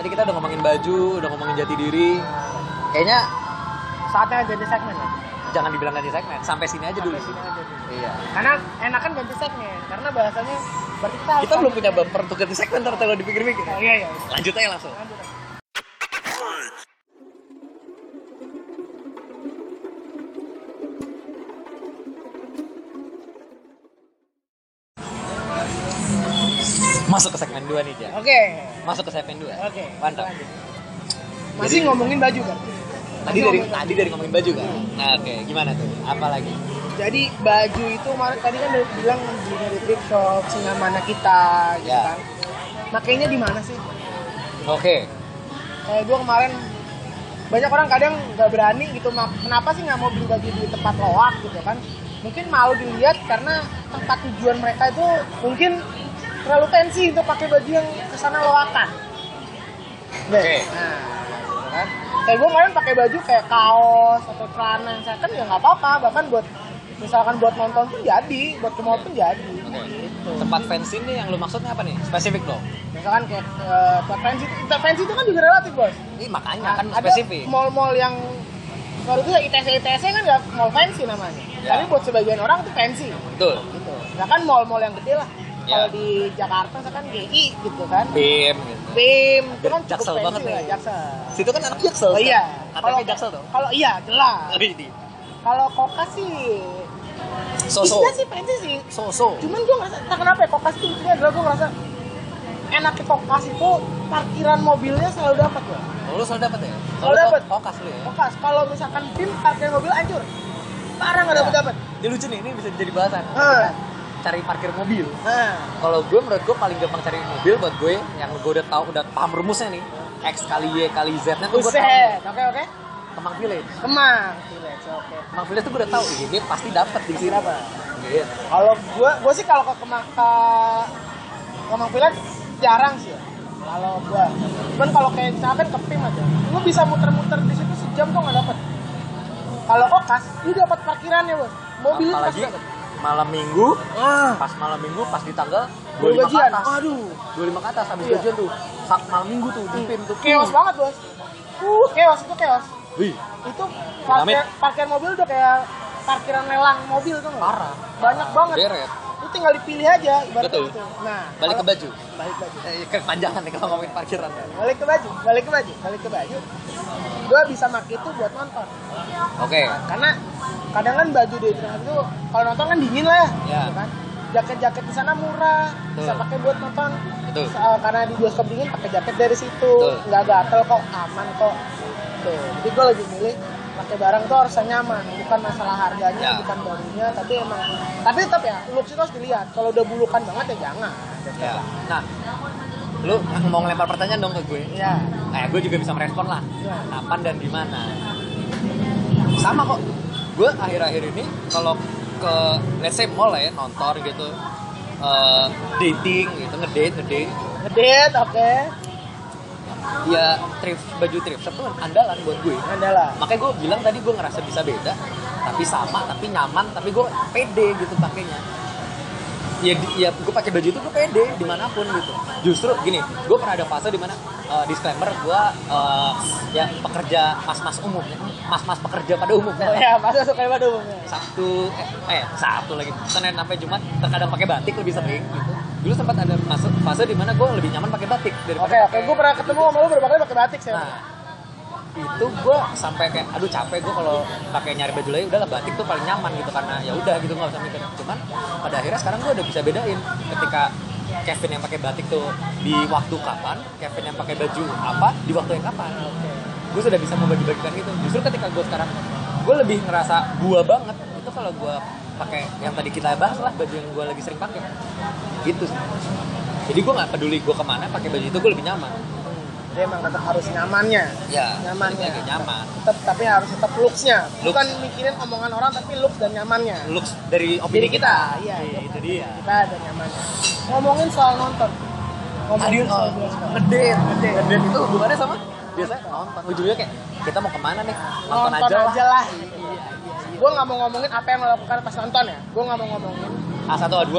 Tadi kita udah ngomongin baju, udah ngomongin jati diri. Kayaknya Saatnya ganti segmen ya. jangan dibilang ganti segmen, sampai sini aja dulu. Sampai sini aja dulu. Iya. Karena enak kan ganti segmen. Karena bahasanya berarti kita, harus Kita belum ganti punya segmen. bumper untuk ganti segmen, ntar kalau dipikir-pikir. Nah, Iya iya. Lanjut aja langsung. Lanjut. Masuk ke segmen 2 nih, Ja. Oke. Masuk ke segmen 2. Oke. Mantap. lanjut. Masih ngomongin baju kan? Tadi dari tadi dari ngomongin baju kan. Nah, oke, gimana tuh? Apa lagi? Jadi baju itu mar- tadi kan udah bilang beli dari thrift shop, mana kita, gitu Ya. kan. Makainya di mana sih? Oke. kayak gue Eh, kemarin banyak orang kadang nggak berani gitu ma- kenapa sih nggak mau beli baju di tempat loak gitu kan mungkin malu dilihat karena tempat tujuan mereka itu mungkin terlalu tensi untuk pakai baju yang kesana loakan Deh. Oke. Nah, gitu kan. kayak gue kemarin pakai baju kayak kaos atau celana yang second ya nggak apa-apa bahkan buat misalkan buat nonton pun jadi buat ke mall pun jadi Oke. gitu. Tempat fancy nih yang lu maksudnya apa nih? Spesifik dong. misalkan kayak eh, intervensi intervensi itu kan juga relatif bos Ini makanya kan ada spesifik. mall-mall yang kalau itu ya ITC ITC kan nggak mall fancy namanya Ya. tapi buat sebagian orang itu fancy Betul. gitu ya kan mall-mall yang gede lah Ya. kalau di Jakarta kan GI gitu kan BIM gitu. BIM itu kan cukup Jaksel fancy banget lah nih. Jaksel Situ kan anak Jaksel. oh kan? iya Katanya Jaksel dong. kalau iya jelas Ini. kalau Koka sih isinya Soso. iya sih fancy sih Soso. cuman gue ngerasa entah kenapa ya Kokas itu lucunya adalah gue ngerasa enaknya Kokas itu parkiran mobilnya selalu dapat loh Oh, lu selalu dapat ya? Selalu dapet. Kokas lu ya. Kokas kalau misalkan BIM parkir mobil hancur parah nggak dapat dapat Ini lucu nih, ini bisa jadi bahasan. Hah. Cari parkir mobil. Hah. kalau gue menurut gue paling gampang cari mobil buat gue yang gue udah tahu udah paham rumusnya nih x kali y kali z nah, nya tuh gue tahu Buset, oke oke. kemang village Kemang, Cilex, oke. kemang village tuh gue udah tahu ini pasti dapat di sini apa iya Kalau gua, gua sih kalau ke Kemang ke Kemang Village jarang sih. ya. Kalau gua, cuman kalau kayak misalkan ke PIM aja, lu bisa muter-muter di situ sejam tuh nggak dapet. Kalau kokas, lu dapat parkirannya ya, bos, mobil lu pasti apalagi dapet. malam minggu Ah, pas malam minggu pas di tanggal baru 25 ke gajian. atas Aduh, 25 ke atas habis Iya. Hmm. gajian tuh saat malam minggu tuh di pim tuh chaos banget bos. Uh, chaos itu chaos. wih Itu parkir, Amit. parkir mobil udah kayak parkiran lelang mobil tuh nggak? parah Banyak banget. Deret. lu tinggal dipilih aja ibaratnya Betul. gitu nah Balik ke kalau- baju. balik ke baju Eh, kepanjangan nih kalau ngomongin parkiran ya. balik ke baju balik ke baju balik ke baju gue bisa make itu buat nonton Oke. karena kadang kan baju di Indonesia itu kalau nonton kan dingin lah ya Ya. gitu kan jaket-jaket di sana murah bisa Betul. pakai buat nonton Betul. Eh, karena di bioskop dingin pakai jaket dari situ Betul. nggak gatel kok aman kok tuh jadi gue lebih milih pakai barang tuh harus nyaman bukan masalah harganya Ya. bukan barunya tapi emang tapi tetap ya looks itu harus dilihat kalau udah bulukan banget ya jangan Ya. Nah, lu mau ngelempar pertanyaan dong ke gue. ya Eh, gue juga bisa merespon lah. Ya. Kapan dan di mana? Sama kok. Gue akhir-akhir ini kalau ke let's say mall lah ya nonton gitu eh, dating gitu ngedate ngedate ngedit oke ya thrift baju thrift shop tuh andalan buat gue andalah makanya gue bilang tadi gue ngerasa bisa beda tapi sama tapi nyaman tapi gue pede gitu pakainya ya di- ya gue pakai baju itu gue pede dimanapun gitu justru gini gue pernah ada fase dimana uh, disclaimer gue uh, ya pekerja mas-mas umum mas-mas pekerja pada umumnya ya masa suka pada umumnya Sabtu eh, eh Sabtu lagi Senin sampai Jumat terkadang pakai batik lebih sering gitu dulu sempat ada fase fase dimana gue lebih nyaman pakai batik daripada oke oke pakai- gue pernah ketemu sama lu berapa kali pakai batik sih Nah, itu gue sampai kayak aduh capek gue kalau pakai nyari baju lagi udahlah batik tuh paling nyaman gitu karena ya udah gitu nggak usah mikir cuman pada akhirnya sekarang gue udah bisa bedain ketika Kevin yang pakai batik tuh di waktu kapan Kevin yang pakai baju apa di waktu yang kapan gue sudah bisa membagi-bagikan gitu justru ketika gue sekarang gue lebih ngerasa gua banget itu kalau gue pakai yang tadi kita bahas lah baju yang gue lagi sering pakai gitu sih jadi gue nggak peduli gue kemana pakai baju itu gue lebih nyaman dia emang tetap harus nyamannya ya Nyaman, balik lagi ya. nyaman tetap tapi harus tetap looksnya Looks. bukan mikirin omongan orang tapi looks dan nyamannya looks dari opini Diri kita, iya. itu dia kita dan nyamannya ngomongin soal nonton tadi ngomongin oh, soal bioskop ngedate ngedate ngedate itu hubungannya sama biasanya nonton ujungnya kayak kita mau kemana nih nonton, aja, lah lah, gue nggak mau ngomongin apa yang lo lakukan pas nonton ya gue nggak mau ngomongin A1 A2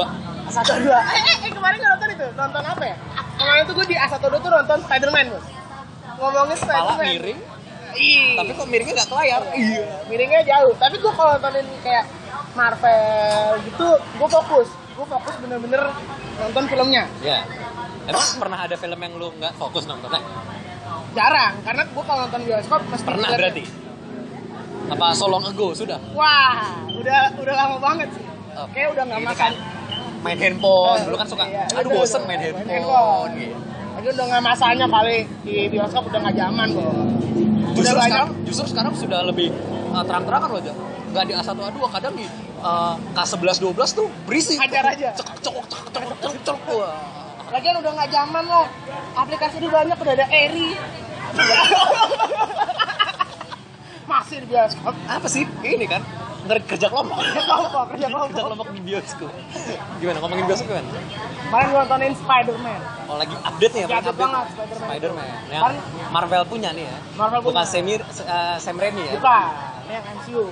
satu dua eh, eh, eh, kemarin gue nonton itu nonton apa ya kemarin tuh gue di A12 tuh nonton Spiderman bos ngomongin kepala Spiderman miring Ih. tapi kok miringnya nggak ke layar iya miringnya jauh tapi gue kalau nontonin kayak Marvel gitu gue fokus gue fokus bener-bener nonton filmnya ya emang pernah ada film yang lu nggak fokus nonton Eh, jarang karena gue kalau nonton bioskop mesti pernah filmnya. berarti apa so long ago sudah wah udah udah lama banget sih Oh, kayak udah nggak ini makan main handphone dulu kan suka Iya, aduh udah, bosen udah, main handphone, gitu. Lagi udah nggak masanya kali di bioskop udah nggak zaman kok udah justru banyak sekarang justru sekarang sudah lebih uh, terang-terangan loh aja nggak di A1 A2 kadang di uh, K11 12 tuh berisi Hajar aja. cekok cekok cekok cekok cekok cekok Wah. lagian udah nggak zaman lah aplikasi udah banyak udah ada Eri masih di bioskop apa sih ini kan ntar kerja kelompok kelompok kerja kerja kelompok kelompok di bioskop gimana ngomongin bioskop gimana Kemarin gua nontonin Spider-Man. oh lagi update nih ya Lagi paling update banget, Spider-Man. Spider-Man yang Kan- Marvel punya nih ya Marvel bukan punya. Semir uh, Sam Raimi ya Bukan, ini yang MCU.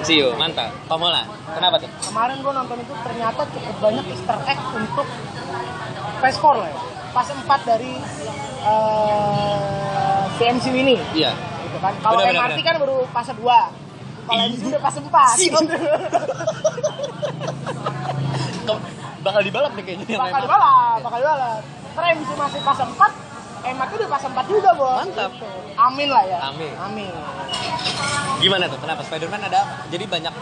MCU mantap Tom Holland kenapa tuh Kemarin gua nonton itu ternyata cukup banyak easter egg untuk PS4 lah ya. Pas 4 dari eh si MCU ini. iya Gitu kan. Kalau Benar, benar, MRT benar. kan baru pas 2. Kalau MCU udah pas 4. Siap. Kau- bakal dibalap nih kayaknya yang bakal lain. dibalap, bakal dibalap. Karena MCU masih pas 4, MRT udah pas 4 juga, Bos. Mantap. Gitu. Amin lah ya. Amin. Amin. Gimana tuh? Kenapa Spider-Man ada apa? Jadi banyak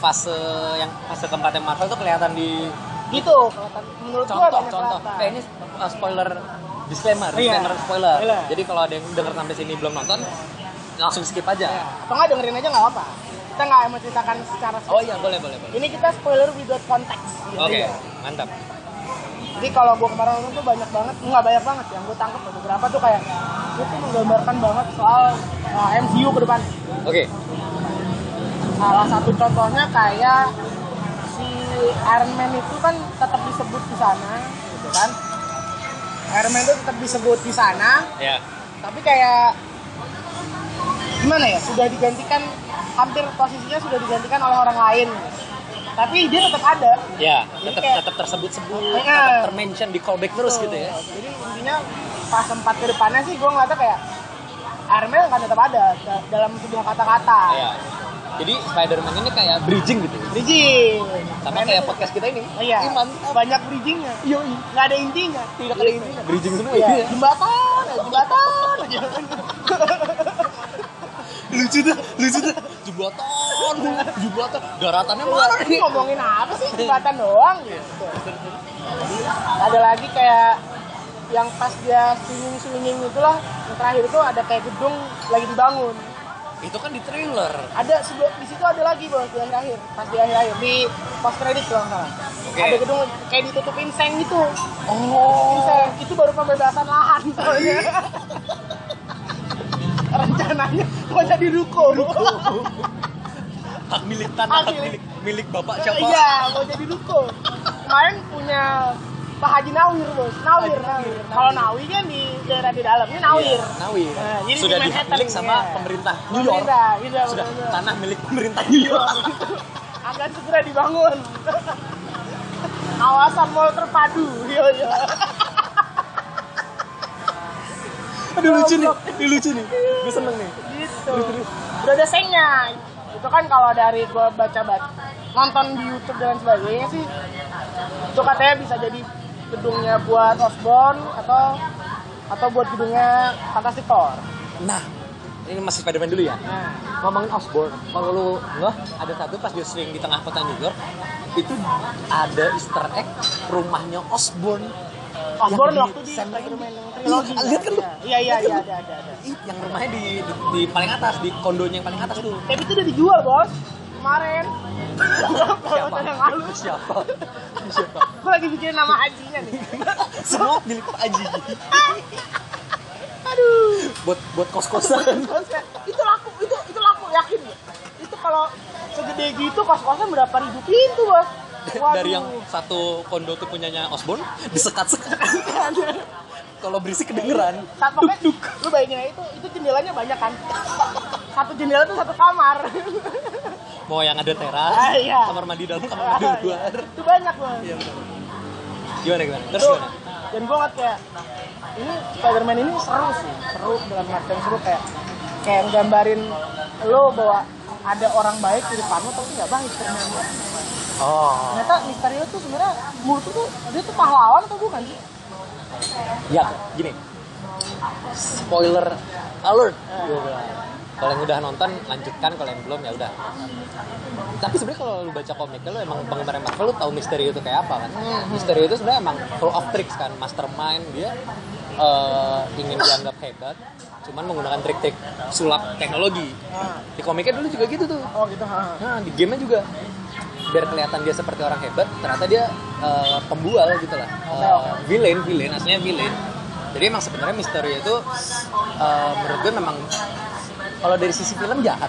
fase yang fase keempatnya Marvel tuh kelihatan di gitu kelihatan. menurut gua contoh banyak contoh. kelihatan. Kayak ini uh, spoiler disclaimer, Iya. disclaimer spoiler. Iya. Jadi kalau ada yang denger sampai sini belum nonton, langsung skip Ya, aja. atau nggak dengerin aja nggak apa kita nggak menceritakan secara Oh iya, boleh boleh boleh. spesifik. ini kita spoiler without konteks gitu Oke, ya. mantap. jadi kalau gua kemarin nonton tuh banyak banget nggak banyak banget yang gua tangkap beberapa tuh kayak itu tuh menggambarkan banget soal uh, MCU ke depan Oke, salah satu contohnya kayak si Iron Man itu kan tetap disebut di sana gitu kan Iron Man itu tetap disebut di sana ya. tapi kayak gimana ya sudah digantikan hampir posisinya sudah digantikan oleh orang lain tapi dia tetap ada Ya, Jadi tetap kayak- tetap tersebut-sebut, Iya. tetap termention di callback terus Tuh. gitu ya. jadi intinya pas empat ke depannya kan sih gue ngeliatnya kayak Armel akan tetap ada da- dalam sebuah kata-kata Iya. Jadi Spider-Man ini kayak bridging gitu. Bridging. Sama Keren kayak itu. podcast kita ini. Iya. Ini mantap. Banyak bridgingnya. Yoi. Nggak ada intinya. eh. Iya, Tidak ada ini. Bridging semua Iya. iya. Jembatan, eh, jembatan. aja. Lucu tuh, lucu tuh. Jembatan, jembatan. Garatannya mana Ini nih? ngomongin apa sih? Jembatan doang gitu. Ada lagi kayak yang pas dia swinging-swinging itulah yang terakhir itu ada kayak gedung lagi dibangun Itu kan di trailer. ada sebelum di situ ada lagi bos di akhir akhir pas di akhir akhir di post credit kalau nggak salah Oke. ada gedung kayak ditutupin seng gitu Oh. Insek. itu baru pembebasan lahan soalnya rencananya mau jadi ruko Hak milik tanah, Hak hak milik. milik milik bapak siapa? iya mau jadi ruko kemarin punya Pak Haji Nawir bos Nawir Haji Nawir, Nawir kalau Nawi kan di daerah di dalam ini Nawir Iya, Nawir. Nah, jadi Sudah di Manhattan, dimilik sama iya. pemerintah New York. Pemerintah, iya, Sudah benar-benar. tanah milik pemerintah New York. akan segera dibangun kawasan mall terpadu Iya, yo yo Aduh lucu nih, ini lucu nih. Gue seneng nih. gitu udah ada sengnya itu kan kalau dari gua baca baca nonton di YouTube dan sebagainya sih itu katanya bisa jadi gedungnya buat Osborn atau atau buat gedungnya Fantastic Four Nah, ini masih Spiderman dulu ya. nah ngomongin Osborne kalau lu ngeh ada satu pas dia sering di tengah kota New York itu ada Easter egg rumahnya Osborne Osborn Oh, Yang di waktu di Sam Raimi. Spider-Man yang trilogi Iya, lihat kan lu? iya iya iya Lihat kan lu? ada ada ada yang rumahnya di, di, di paling atas di kondonya yang paling atas tuh tapi itu udah dijual bos kemarin siapa Tahun yang lalu siapa siapa gue lagi bikin nama hajinya nih semua milik Pak Aji aduh buat buat kos kosan Terus kayak, itu laku itu itu laku yakin ya? itu kalau segede gitu kos kosan berapa ribu pintu bos Waduh. dari yang satu kondo tuh punyanya Osborne disekat sekat kalau berisik kedengeran saat pokoknya lu bayangin aja itu itu jendelanya banyak kan satu jendela tuh satu kamar mau yang ada teras Ah, iya. Ah, kamar mandi dalam kamar mandi luar itu banyak bos Iya, benar. gimana gimana terus Itu- gimana dan gue ngeliat kayak ini Spiderman ini seru sih seru dalam artian seru kayak kayak gambarin lo bahwa ada orang baik di depan lo tapi nggak baik ternyata oh ternyata Misterio tuh sebenarnya menurut gua tuh dia tuh pahlawan atau bukan sih Ya, gini. Spoiler alert. Gua bilang. Kalau yang udah nonton lanjutkan, kalau yang belum ya udah. Tapi sebenarnya kalau lu baca komiknya lu emang penggemar Marvel lu tahu misteri itu kayak apa kan? Misteri itu sebenarnya emang full of tricks kan, mastermind dia eh, ingin dianggap hebat, cuman menggunakan trik-trik sulap teknologi. Di komiknya dulu juga gitu tuh. oh gitu ha. Nah, di gamenya juga biar kelihatan dia seperti orang hebat, ternyata dia eh, pembual gitu lah. Oke, Eh, oke. villain, villain, aslinya villain. Jadi emang sebenarnya misteri itu eh, menurut gue memang kalau dari sisi film jahat.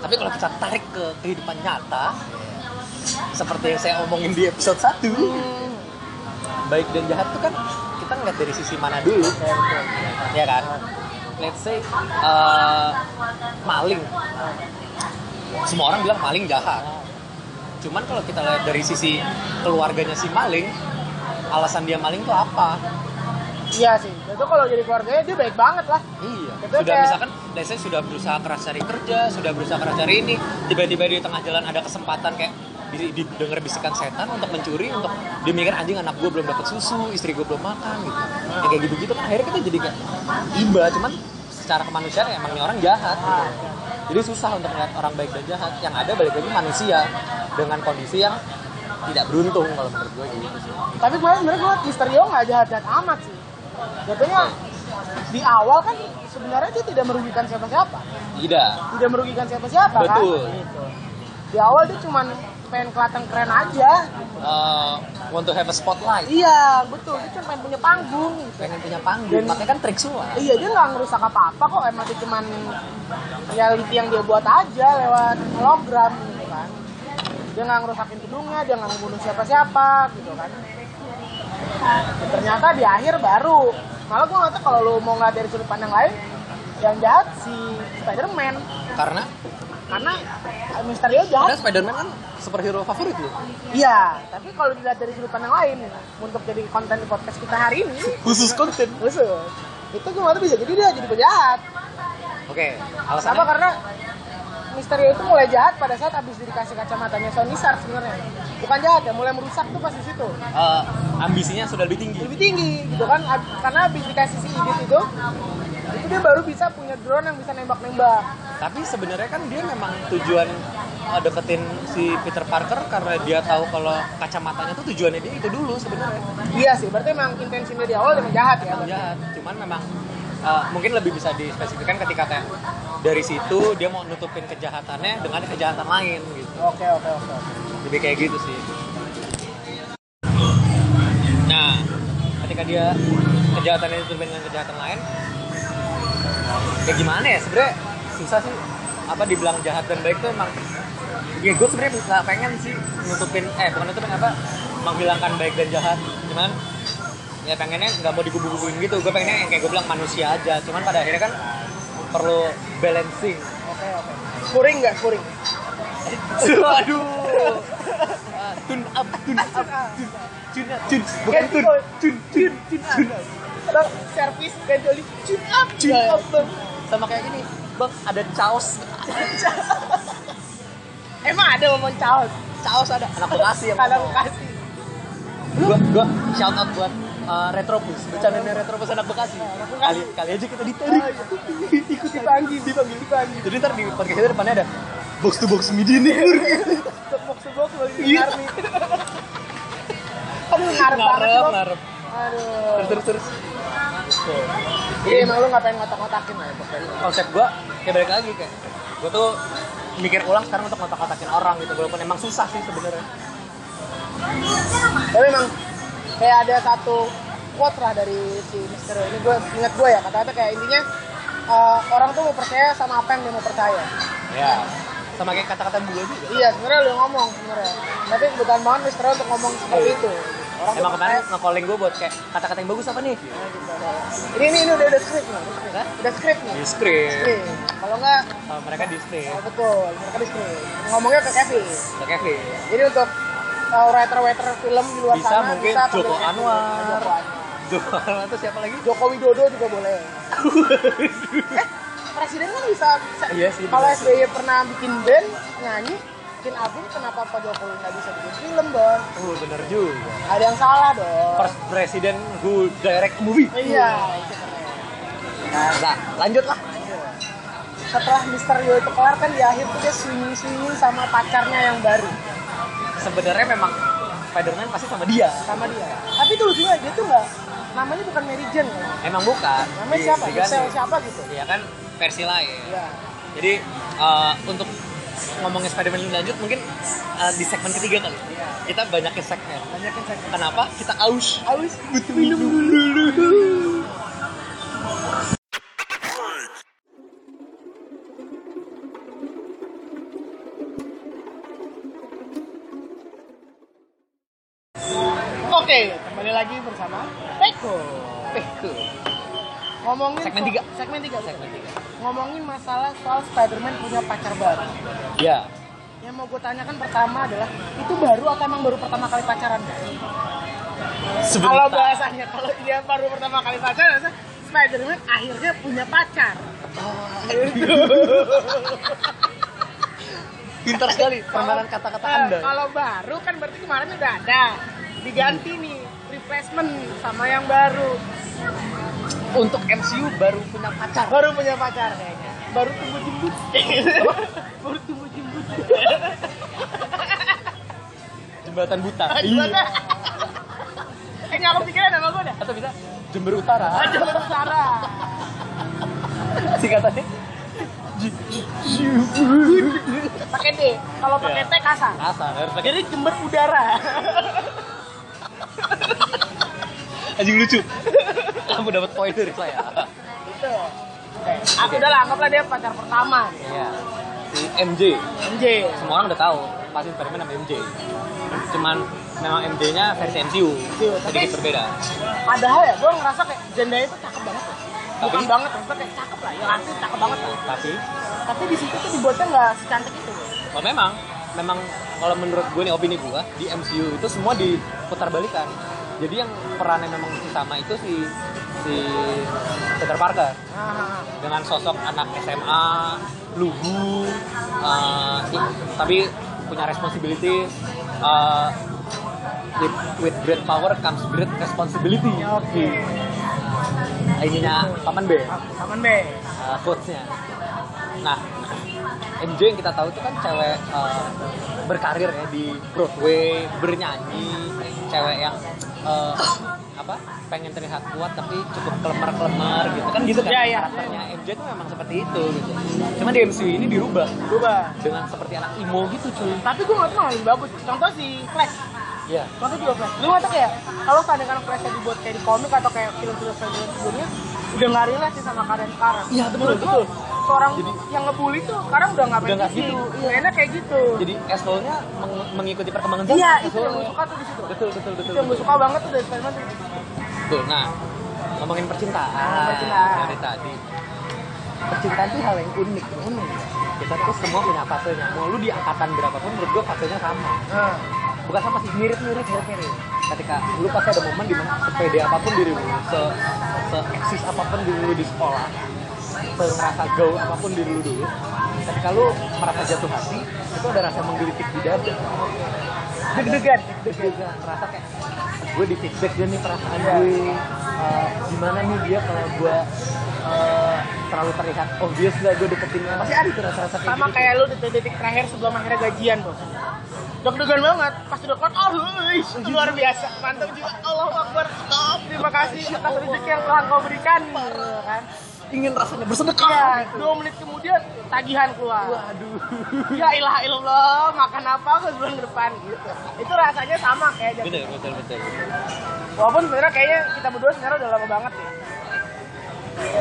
Tapi kalau kita tarik ke kehidupan nyata seperti yang saya omongin di episode 1 baik dan jahat tuh kan kita ngeliat dari sisi mana dulu ya kan let's say eh, maling semua orang bilang maling jahat cuman kalau kita lihat dari sisi keluarganya si maling alasan dia maling tuh apa Iya sih. Itu kalau jadi keluarganya dia baik banget lah. iya Itu sudah kayak- misalkan let's say sudah berusaha keras cari kerja sudah berusaha keras cari ini tiba-tiba di tengah jalan ada kesempatan kayak di- didengar bisikan setan untuk mencuri untuk dia mikir anjing anak gue belum dapat susu istri gue belum makan gitu Ya, kayak gitu gitu kan akhirnya kita jadi kayak iba cuman secara kemanusiaan ya emang ini orang jahat gitu. jadi susah untuk melihat orang baik dan jahat yang ada balik lagi manusia dengan kondisi yang tidak beruntung kalau menurut gue gitu sih Tapi gue sebenarnya gue Misterio nggak jahat-jahat amat sih. Jatuhnya di awal kan sebenarnya dia tidak merugikan siapa-siapa. tidak Tidak merugikan siapa-siapa kan. Betul. Gitu. Di awal dia cuman pengen kelihatan keren aja. eh, want to have a spotlight Iya, betul. Dia cuma pengen punya panggung gitu. pengen punya panggung Dan- makanya kan trik semua Iya, dia nggak ngerusak apa-apa kok. Emang dia cuman reality yang dia buat aja lewat hologram gitu kan. Dia nggak ngerusakin gedungnya, dia nggak ngebunuh siapa-siapa gitu kan. Ya, ternyata di akhir baru. Malah gue nggak tahu kalau lu mau nggak dari sudut pandang lain, yang jahat si Spider-Man. karena Karena Misterio karena jahat. Spider-Man kan superhero favorit lu Iya, tapi kalau dilihat dari sudut pandang lain, untuk jadi konten podcast kita hari ini, khusus konten khusus, itu gue nggak tahu bisa jadi dia jadi penjahat. oke alasannya Kenapa? Karena Misterio itu mulai jahat pada saat abis dikasih kacamatanya Sony Sar sebenarnya. Bukan jahat ya, mulai merusak tuh pas di situ. Eh, ambisinya sudah lebih tinggi. Lebih tinggi gitu kan, ab- karena abis dikasih si Idit itu, itu dia baru bisa punya drone yang bisa nembak-nembak. Tapi sebenarnya kan dia memang tujuan eh, deketin si Peter Parker karena dia tahu kalau kacamatanya tuh tujuannya dia itu dulu sebenarnya. Iya sih, berarti emang intensinya di awal emang jahat ya. Emang jahat. Cuman memang eh, mungkin lebih bisa dispesifikkan ketika kayak dari situ dia mau nutupin kejahatannya dengan kejahatan lain gitu. Oke, oke, oke. Lebih kayak gitu sih. Nah, ketika dia kejahatannya ditutupin dengan kejahatan lain, ya gimana ya sebenarnya susah sih apa dibilang jahat dan baik tuh emang ya gue sebenarnya nggak pengen sih nutupin eh bukan nutupin apa menghilangkan baik dan jahat cuman ya pengennya nggak mau dikubu-kubuin gitu gue pengennya yang kayak gue bilang manusia aja cuman pada akhirnya kan perlu balancing Oke, oke. Kuring nggak? Kuring. Aduh. Ah, Tune up, tune up, Ah. tune- tune up, tune. Bukan tune, tune, tune, tune, tune up. Atau servis ganjoli, cun up, cun Iya. up bang. Sama kayak gini, bang ada caos, Emang ada momen caos? caos ada. Anak bekasi ya. Ada bekasi. Gua, gua shout out buat uh, Retropus, bercandanya Retropus anak bekasi. Kali, kali aja kita ditarik. Ikut dipanggil, dipanggil, dipanggil. Jadi ntar di podcast kita depannya ada box to box midi nih. Sebok sebok lagi di Iya. army. Aduh, ngarep banget Ngarep, Bob. ngarep. Aduh. Terus, terus, terus. Tuh. Iya, emang lu nggak pengen ngotak-ngotakin lah ya pokoknya. konsep gue kayak balik lagi kayak gue tuh mikir ulang sekarang untuk ngotak-ngotakin orang gitu walaupun emang susah sih sebenarnya Tapi emang kayak ada satu quote lah dari si Misterio ini gue inget gue ya kata-kata kayak intinya eh, orang tuh mau percaya sama apa yang dia mau percaya. ya sama kayak kata-kata gue juga Iya sebenarnya lu yang ngomong sebenarnya. Tapi kebutuhan banget Misterio untuk ngomong seperti Iya. itu. Orang tuh emang kemarin percaya nge-calling gue buat kayak kata-kata yang bagus apa nih sama gitu. Ini ini ini udah udah script nih. udah script. Hah? Udah script nih. di script Script. Kalau nggak Sama mereka di script oh, betul mereka di script. Ngomongnya ke Kevin. ke Kevin Jadi untuk uh, writer-writer film di luar Bisa sana mungkin bisa panggil Joko Kevin. Anwar. Joko Anwar. Jokowi itu siapa lagi Joko Widodo juga boleh. eh, presiden kan bisa. bisa- Iya sih, Kalau benar. SBY pernah bikin band, nyanyi, bikin album, kenapa Pak Jokowi nggak bisa bikin film dong? uh bener juga Ada yang salah dong. first president who direct a movie Iya, itu keren. nah lanjut lah Setelah Misterio itu kelar kan di akhir tuh dia swinging swinging sama pacarnya yang baru, sebenarnya memang Spider-Man pasti sama dia sama dia. Tapi itu lucunya dia tuh nggak, namanya bukan Mary Jane, ya. emang bukan namanya Di- siapa? diganti. Michelle siapa gitu? Iya kan versi lain Iya. Jadi eh, untuk ngomongin Spider-Man lebih lanjut mungkin eh, di segmen ketiga kali. Iya. Kita banyakin segmen. Banyakin saya. Kenapa? Kita aus. Aus minum dulu. Oke, kembali lagi bersama Peko. Ngomongin Segmen so- tiga. Segmen 3. Segmen tiga. Ngomongin masalah soal Spider-Man punya pacar baru. Ya. Yang mau gue tanyakan pertama adalah itu baru atau emang baru pertama kali pacaran? Kalau bahasanya kalau dia baru pertama kali pacaran, harusnya Spider-Man akhirnya punya pacar. pintar sekali permainan kata-kata Eh, Anda. Kalau baru kan berarti kemarin udah ada. Diganti Hmm. nih replacement sama yang baru. Untuk MCU baru punya pacar. Baru punya pacar kayaknya. Baru tumbuh jembut. baru tumbuh jembut. Jembatan buta. Gimana? eh nggak kepikiran sama gue dah. Atau bisa Iya. Jember Utara. Aduh, Sara. Singkatannya. J- J- Jember. Pakai D. Kalau pakai T Iya. kasar. Kasar. Harus pakai Jadi jember udara. anjing lucu. Kamu dapat poin dari saya. gitu. Oke. Aku udah lah, anggaplah dia pacar pertama. nih. Iya. Si MJ. MJ. semua orang udah tahu pasti Spiderman sama MJ cuman memang MJ nya versi MCU Iya, tapi- sedikit berbeda Padahal ya, gue ngerasa kayak janda itu cakep banget. ya. Bukan Tapi- banget, maksudnya kayak cakep lah. Yang arti cakep banget lah. tapi Tapi di situ tuh dibuatnya nggak secantik itu. oh memang memang kalau menurut gue nih opini gue di MCU itu semua diputar balikan jadi yang perannya memang utama itu si si Peter Parker Ah, dengan sosok anak SMA lugu eh, i- tapi punya responsibility eh, with, with great power comes great responsibility Oke. ininya paman B Taman B. eh, quotes-nya. Nah, MJ yang kita tahu itu kan cewek eh, berkarir ya di Broadway, bernyanyi, cewek yang eh, apa pengen terlihat kuat tapi cukup kelemar-kelemar gitu kan gitu kan Iya, iya. karakternya MJ itu memang seperti itu gitu. Cuma di MCU ini dirubah Coba. dengan seperti anak emo gitu cuy. Tapi gue ngeliat malah lebih bagus. Contoh si Flash. Iya. Contoh juga Flash. Lu ngeliatnya kayak, kalau seandainya Flashnya dibuat kayak di komik atau kayak film-film Spider-Man sebelumnya, udah nggak relate sih sama keadaan sekarang. Iya, betul, Menurut gua, betul. Seorang Jadi- yang ngebully tuh sekarang udah nggak Udah main nggak gitu. gitu. Iya. Enak kayak gitu. Jadi asshole-nya meng- mengikuti perkembangan zaman. Iya, itu yang asshole-nya. gue suka tuh di situ. Betul, betul, betul. Itu yang gue suka banget tuh dari Spider-Man. tuh. Betul. Nah, ngomongin Ah, percintaan, Percintaan. dari tadi. Percintaan tuh hal yang unik, unik. Kita tuh semua punya fasenya. Mau lu di angkatan berapapun, menurut gua fasenya sama. Nah, Bukan sama sih, mirip-mirip, mirip-mirip. Ketika lu pasti ada momen dimana sepede apapun diri lu, se, se eksis apapun diri lu di sekolah, se ngerasa gaul apapun diri lu dulu. Ketika lu merasa jatuh hati, itu ada rasa menggelitik di dada. Deg-degan. Deg-degan, merasa kayak gue di feedback dia nih perasaan gue Eh, gimana nih dia kalau gue eh, terlalu terlihat obvious lah gue deketin dia. pasti ada tuh rasa-rasa kayak Sama gitu. kayak lu detik-detik terakhir sebelum akhirnya gajian, bos. Deg-degan banget, pas udah keluar, oh, wih, luar biasa, mantap juga, Allah Akbar, stop, terima kasih atas rezeki yang Tuhan kau berikan, kan? ingin rasanya bersedekah Iya, gitu. dua menit kemudian tagihan keluar. waduh Ya ilah ilallah, makan apa aku sebulan ke depan gitu. Itu rasanya sama kayak jadi. bener betul betul Walaupun sebenarnya kayaknya kita berdua sebenarnya udah lama banget ya.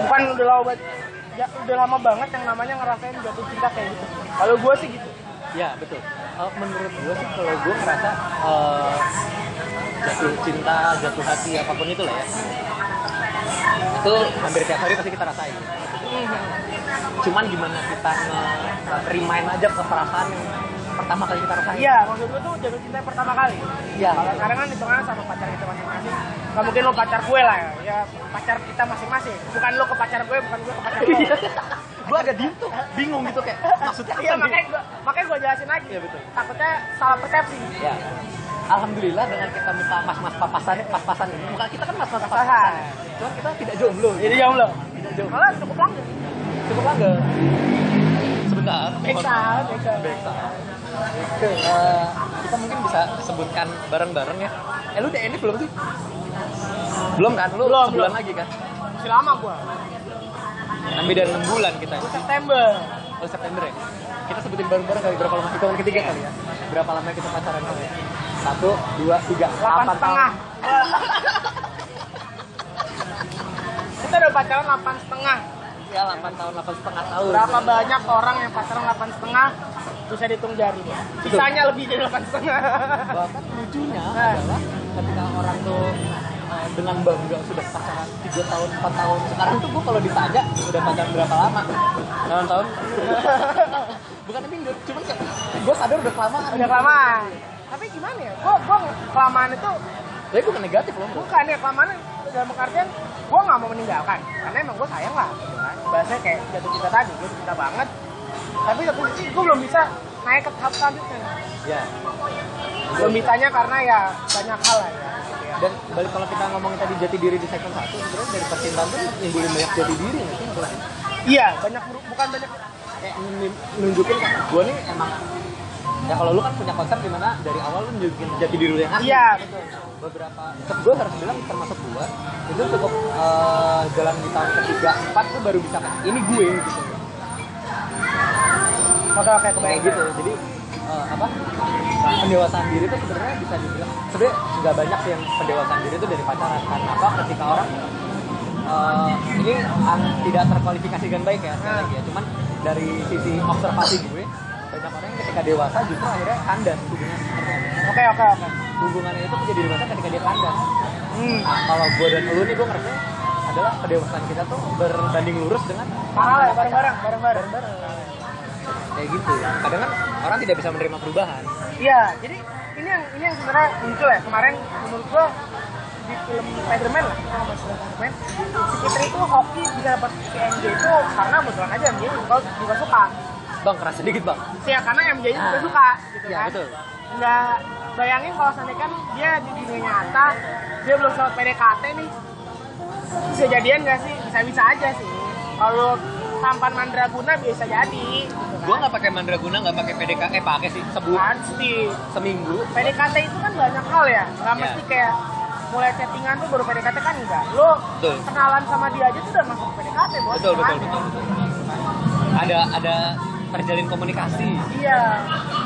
Bukan udah lama banget, ya, udah lama banget yang namanya ngerasain jatuh cinta kayak gitu. Kalau gue sih gitu. ya betul Eh, menurut gue sih kalau gue ngerasa eh, jatuh cinta jatuh hati apapun itu lah ya itu hampir tiap hari pasti kita rasain cuman gimana kita nge-remind aja ke perasaan yang pertama kali kita rasain Iya, maksud gue tuh jatuh cinta pertama kali. Iya. Kalau sekarang kan hitungannya sama pacar kita masing-masing. Gak mungkin lo pacar gue lah ya. ya. pacar kita masing-masing. Bukan lo ke pacar gue, bukan gue ke pacar lo. Iya. gue agak diem tuh bingung gitu kayak maksudnya apa Iya, gitu. nih? makanya gue makanya gue jelasin lagi. Iya, betul. Takutnya salah persepsi. ya alhamdulillah dengan kita muka mas mas papasan pas-pasan ini muka kita kan mas mas papasan Pas-pasan. cuma kita tidak jomblo Jadi jauh lo. tidak jomblo Malah cukup langgeng. cukup langga sebentar Back mohon sound, maaf. back sound. Back sound. Oke, eh, kita mungkin bisa sebutkan bareng-bareng ya eh lu udah ini belum sih belum kan lu Belum, sebulan belum. lagi kan Masih lama gue. lebih dari enam bulan kita Gue September. Oh September ya? Kita sebutin bareng-bareng kali berapa lama? Hitungan ketiga kali ya? Berapa lama kita pacaran kali ya? Satu, dua, tiga, Delapan delapan setengah. tahun. Kita udah pacaran delapan setengah. Ya delapan tahun, delapan setengah tahun. Berapa banyak orang yang pacaran delapan setengah bisa dihitung jarinya. Sisanya lebih dari delapan setengah. Bahkan lucunya Nah. adalah ketika orang tuh eh, dengan bangga sudah pacaran tiga tahun, empat tahun. Sekarang tuh gue kalau ditanya udah pacaran berapa lama? Enam tahun. Bukan tapi enggak, cuman kayak gue sadar udah kelamaan. Udah kelamaan. Tapi gimana ya? Gua gua kelamaan itu Tapi bukan negatif loh. Bu. bukan ya kelamaan dalam artian gua nggak mau meninggalkan karena emang gua sayang lah. gitu kan. Bahasanya kayak jatuh cinta tadi, gua cinta banget. Tapi satu sisi gua belum bisa naik ke tahap selanjutnya. Ya. Belum bisanya karena ya banyak hal lah. Ya. dan balik kalau kita ngomongin tadi jati diri di segmen satu sebenarnya dari percintaan tuh nimbulin banyak jati diri nggak sih Nggak? Iya, banyak beru- bukan banyak kayak nin- nunjukin kan gue nih emang ya kalau lu kan punya konsep dimana dari awal lu nunjukin jati diri lu yang asli gitu. Iya, betul. beberapa gue harus bilang termasuk gue itu cukup eh, dalam di tahun ketiga empat tuh baru bisa kayak, ini gue gitu Oke, oke, kayak kebayang gitu jadi eh, apa pendewasaan diri itu sebenarnya bisa dibilang sebenarnya nggak banyak sih yang pendewasaan diri itu dari pacaran karena apa ketika orang eh, ini an- tidak terkualifikasi dengan baik ya sekali lagi ya cuman dari sisi observasi gue banyak orang yang ketika dewasa justru akhirnya kandas hubungan Oke, oke, oke. hubungannya itu menjadi dewasa ketika dia kandas Hmm. nah, kalau gue dan lu nih gue ngerasa adalah kedewasaan kita tuh berbanding lurus dengan Parah lah, pacaran. bareng-bareng, bareng-bareng. kayak gitu kadang kan orang tidak bisa menerima perubahan Iya, jadi ini yang ini yang sebenarnya muncul ya kemarin menurut gua di film Spider-Man lah kalau masih Spider-Man si Peter itu hoki bisa dapat MJ itu karena kebetulan aja MJ juga, juga suka Bang, keras sedikit bang. sih ya karena MJ juga Ah. suka gitu Iya, kan betul. nggak bayangin kalau seandainya kan dia di dunia nyata dia belum sempat PDKT nih bisa jadian nggak sih bisa bisa aja sih kalau tampan mandraguna bisa jadi gitu Gue kan. nggak pakai Mandraguna, nggak pakai PDK, eh pakai sih sebulan, pasti seminggu. PDKT itu kan banyak hal ya nggak Iya. mesti kayak mulai chattingan tuh baru PDKT kan enggak lo Betul. kenalan sama dia aja tuh udah masuk PDKT bos Betul, betul, Makanya. betul. Ada ada terjalin komunikasi. iya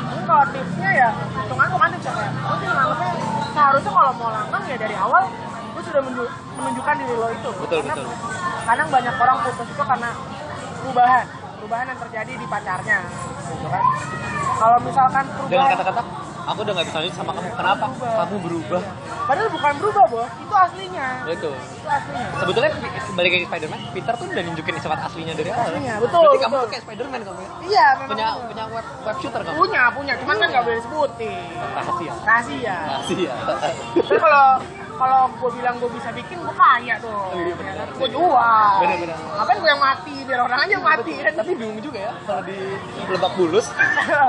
ini kalau tipsnya ya hitungan kemarin sih kayak lo sih nganggepnya seharusnya kalau mau langgeng ya dari awal lo sudah menju- menunjukkan diri lo itu Betul, karena betul. kadang banyak orang putus itu karena perubahan perubahan yang terjadi di pacarnya gitu kan kalau misalkan Dengan perubahan kata-kata, aku udah nggak bisa lanjut sama kamu. Kenapa? Kamu berubah. padahal bukan berubah bos itu aslinya Betul. itu aslinya Sebetulnya balik lagi ke Spider-Man, Peter tuh udah nunjukin sifat aslinya dari awal. Aslinya, ya? betul, Berarti kamu betul. tuh kayak Spider-Man kamu ya? iya memang Punya bener. punya web web shooter kamu. punya punya cuman kan nggak boleh disebutin Rahasia. rahasia Rahasia. terus kalau kalau gue bilang gue bisa bikin gue kaya tuh Oh, iya, benar. gue jual Benar, benar. ngapain gue yang mati biar orang aja yang mati kan Tapi bingung juga ya kalau di Lebak Bulus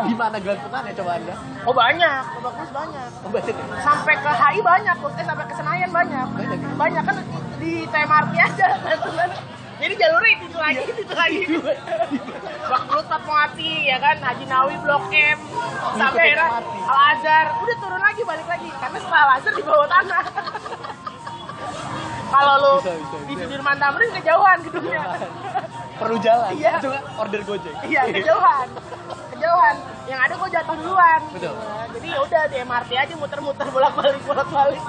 di mana gelantungannya coba Anda? oh banyak obat terus banyak Obatin ya? sampai ke HI banyak bos. eh sampai ke Senayan banyak Banyak ya? banyak kan di- di TMRT aja kan. jadi jalurnya itu itu lagi itu lagi Bak Lut Fatmawati ya kan Haji Nawawi Blok M sampai akhirnya Fatmawati. Al Azhar udah turun lagi balik lagi karena setelah Al Azhar di bawah tanah kalau lu Bisa, bisa, di bisa. Sudirman Tamrin kejauhan gedungnya Perlu jalan. Iya. Itu nggak order Gojek. iya kejauhan kejauhan yang ada gua jatuh duluan Betul. Nah, jadi ya udah di MRT aja muter-muter bolak-balik bolak-balik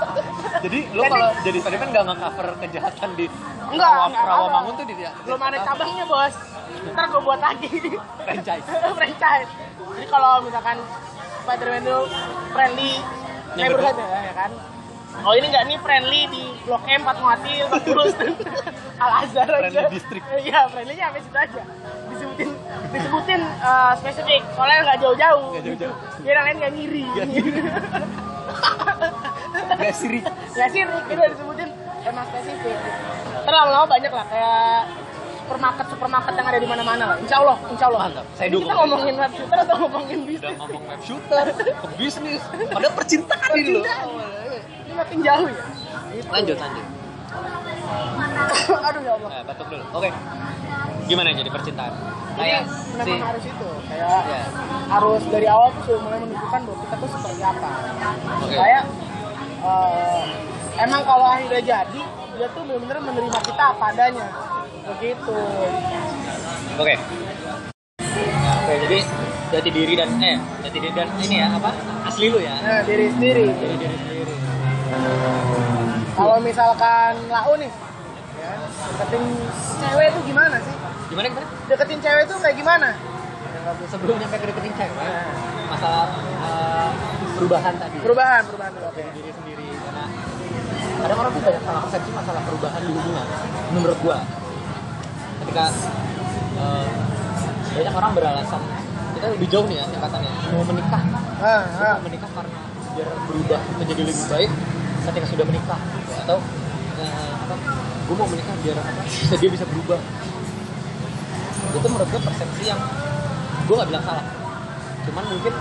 Jadi lo Jadi- kalau jadi Spiderman nggak nge-cover kejahatan di Enggak, Rawa- enggak Rawamangun ada. tuh di di- Belum ada apa? cabangnya, Bos. Ntar gue buat lagi franchise. franchise. Jadi kalau misalkan Spider-Man itu friendly neighborhood ya, ya kan. Oh ini enggak nih friendly di Blok M, Fatmawati, Terus Al Azhar aja. Friendly district. Iya, friendly-nya sampai situ aja. Disebutin disebutin eh, spesifik, soalnya enggak jauh-jauh. Nggak jauh-jauh. Biar yang lain enggak ngiri. Nggak Gak sirik. Nggak sih, Rick, udah disebutin emang spesifik. Ntar lama-lama banyak lah, kayak supermarket supermarket yang ada di mana-mana lah. Insya Allah, insya Allah. Mantap, saya Ini dukung. Kita ngomongin web shooter atau ngomongin Udah bisnis? ngomong web shooter, ke bisnis, ada percintaan ini lo. Percintaan. Ini makin jauh ya. Gitu. Lanjut, lanjut. Aduh ya Allah. Nah, batuk dulu. Oke. Gimana jadi percintaan? Jadi Kayak si memang harus itu, kayak Iya. harus dari awal tuh sudah mulai menunjukkan bahwa kita tuh seperti apa. Oke. Kayak eh, emang kalau akhirnya jadi, dia tuh benar-benar menerima kita apa adanya. Begitu. Oke. Nah, Oke, jadi jati diri dan eh jati diri dan ini ya apa? Asli lu ya. Nah, diri sendiri. Jadi diri sendiri. Kalau misalkan lau nih, ya, deketin cewek itu gimana sih? Gimana gimana? Deketin cewek itu kayak gimana? Sebelum nyampe ke deketin cewek, masalah eh, perubahan tadi. Perubahan, perubahan dulu. Oke. diri sendiri karena kadang orang tuh banyak salah persepsi masalah perubahan di hubungan menurut gua ketika eh, banyak orang beralasan kita lebih jauh nih ya tingkatannya mau menikah Ah, ah. mau menikah karena biar berubah menjadi lebih baik ketika sudah menikah gitu. atau eh, apa gue mau menikah biar apa bisa dia bisa berubah itu menurut gue persepsi yang gue nggak bilang salah cuman mungkin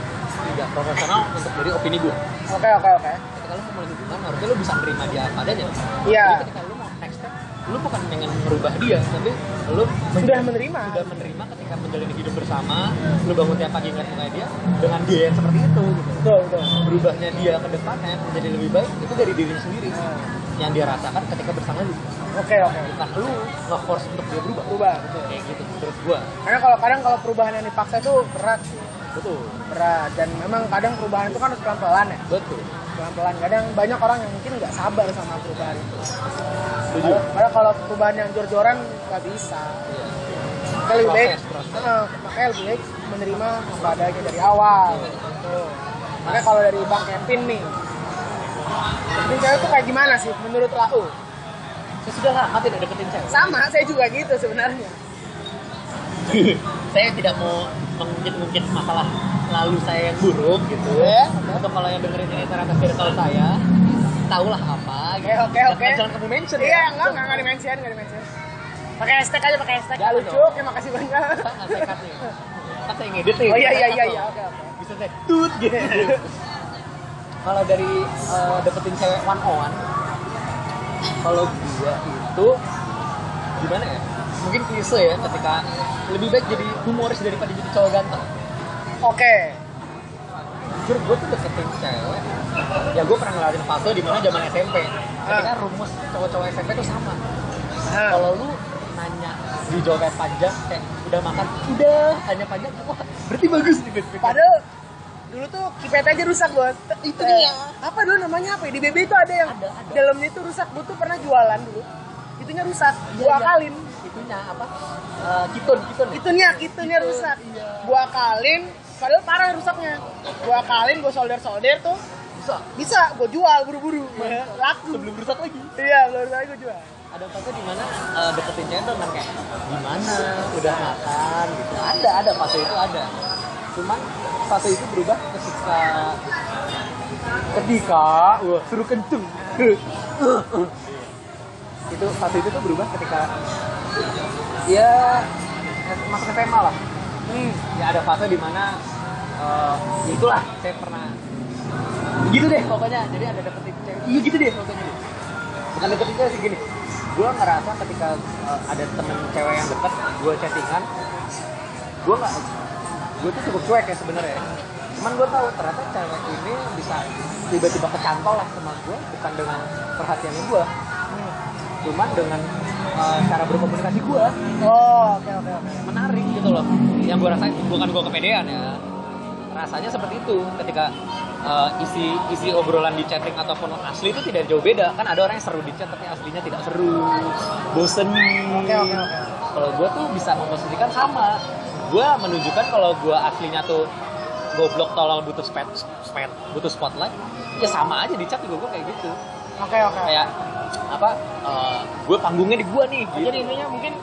tidak profesional untuk dari opini gue Oke, oke, oke. ketika lu mau mulai hubungan harusnya lu bisa menerima dia apa adanya Iya. jadi ketika lu mau next step lu bukan pengen merubah dia tapi lu Sudah menerima. sudah menerima ketika menjalani hidup bersama lu bangun tiap pagi ngeliat mukanya dia dengan dia yang seperti itu gitu Betul, betul. berubahnya dia ke depannya menjadi lebih baik itu dari dirinya sendiri yang dia rasakan ketika bersama lu Ah, Oke, oke. bukan lu nge-force untuk dia berubah Berubah, betul. kayak gitu menurut gua Karena kalau kadang kalau perubahan yang dipaksa itu berat sih, betul berat. Dan memang kadang perubahan itu kan harus pelan-pelan ya, betul pelan-pelan. Kadang banyak orang yang mungkin nggak sabar sama perubahan itu. setuju Karena karena kalau perubahan yang jor-joran nggak bisa. Iya. Kita lebih baik, Proses, proses. eh, makanya lebih baik menerima apa adanya dari awal. Gitu. Makanya kalau dari Bang Kevin nih, Kevin cewek tuh kayak gimana sih menurut Lau? saya sudah lama tidak deketin cewek Sama, saya juga gitu sebenarnya. saya tidak mau mengungkit-ungkit masalah Iya? lalu saya yang buruk gitu ya. Untuk kalau yang dengerin ini ternyata circle saya, tau lah apa gitu. Oke, oke, Jangan- oke. Jangan kamu mention Iya, ya. enggak, enggak, enggak dimention, enggak dimention. Pakai hashtag aja, pakai hashtag. Ya, Ya, lu lucu, dong. oke, makasih banyak. Pak, nggak saya cut nih. Kan saya ngedit nih. Oh iya, iya, iya, iya, oke, oke. Bisa saya tut gitu. kalau dari eh, dapetin cewek one on one, kalau gua itu gimana ya? Mungkin klise ya ketika lebih baik jadi humoris daripada jadi cowok ganteng. Oke. jujur gue tuh deketin cewek ya gue pernah ngelarin fase di mana zaman SMP ketika Ah. rumus cowok-cowok SMP tuh sama Ah. kalau lu nanya di jawaban panjang kayak udah makan udah hanya panjang wah berarti bagus nih best friend. Padahal dulu tuh kipet aja rusak bos. Itu Iya. Apa dulu namanya apa? ya? Di BB itu ada yang Ada, ada. dalamnya itu rusak. Gue tuh pernah jualan dulu. Itunya rusak. Iya, Gua iya. akalin. itunya apa Eh, kitun kitun ya? Itunya, itunya Itu, rusak. iya. Gua akalin. Padahal parah rusaknya. Gua akalin, gua solder solder tuh. bisa Bisa, gua jual buru-buru. Laku. sebelum rusak lagi Iya, baru kali gua jual. ada fase di mana eh, deketin cewek tuh kan kayak gimana udah makan gitu ada ada fase itu ada cuman fase itu berubah ketika ketika wah suruh kenceng itu fase itu tuh berubah ketika ya masuk SMA lah Hmm. ya ada fase di mana eh, ya itulah saya pernah gitu deh pokoknya jadi ada dapetin cewek iya gitu deh pokoknya bukan deketin cewek sih gini gue ngerasa ketika eh, ada temen cewek yang deket gue chattingan gue nggak gue tuh cukup cuek ya sebenarnya cuman gue tahu ternyata cewek ini bisa tiba-tiba kecantol lah sama gue bukan dengan perhatiannya gue cuman dengan eh, cara berkomunikasi gue Oh, oke oke oke. menarik gitu loh yang gue rasain bukan gue kepedean ya rasanya seperti itu ketika uh, isi isi obrolan di chatting ataupun asli itu tidak jauh beda kan ada orang yang seru di chat tapi aslinya tidak seru bosen Oke oke oke. kalau gue tuh bisa memposisikan sama gue menunjukkan kalau gue aslinya tuh goblok tolol butuh spot spot butuh spotlight ya sama aja di chat juga gue kayak gitu Oke oke. kayak apa uh, gue panggungnya di gue nih Oh, gitu. Jadi intinya mungkin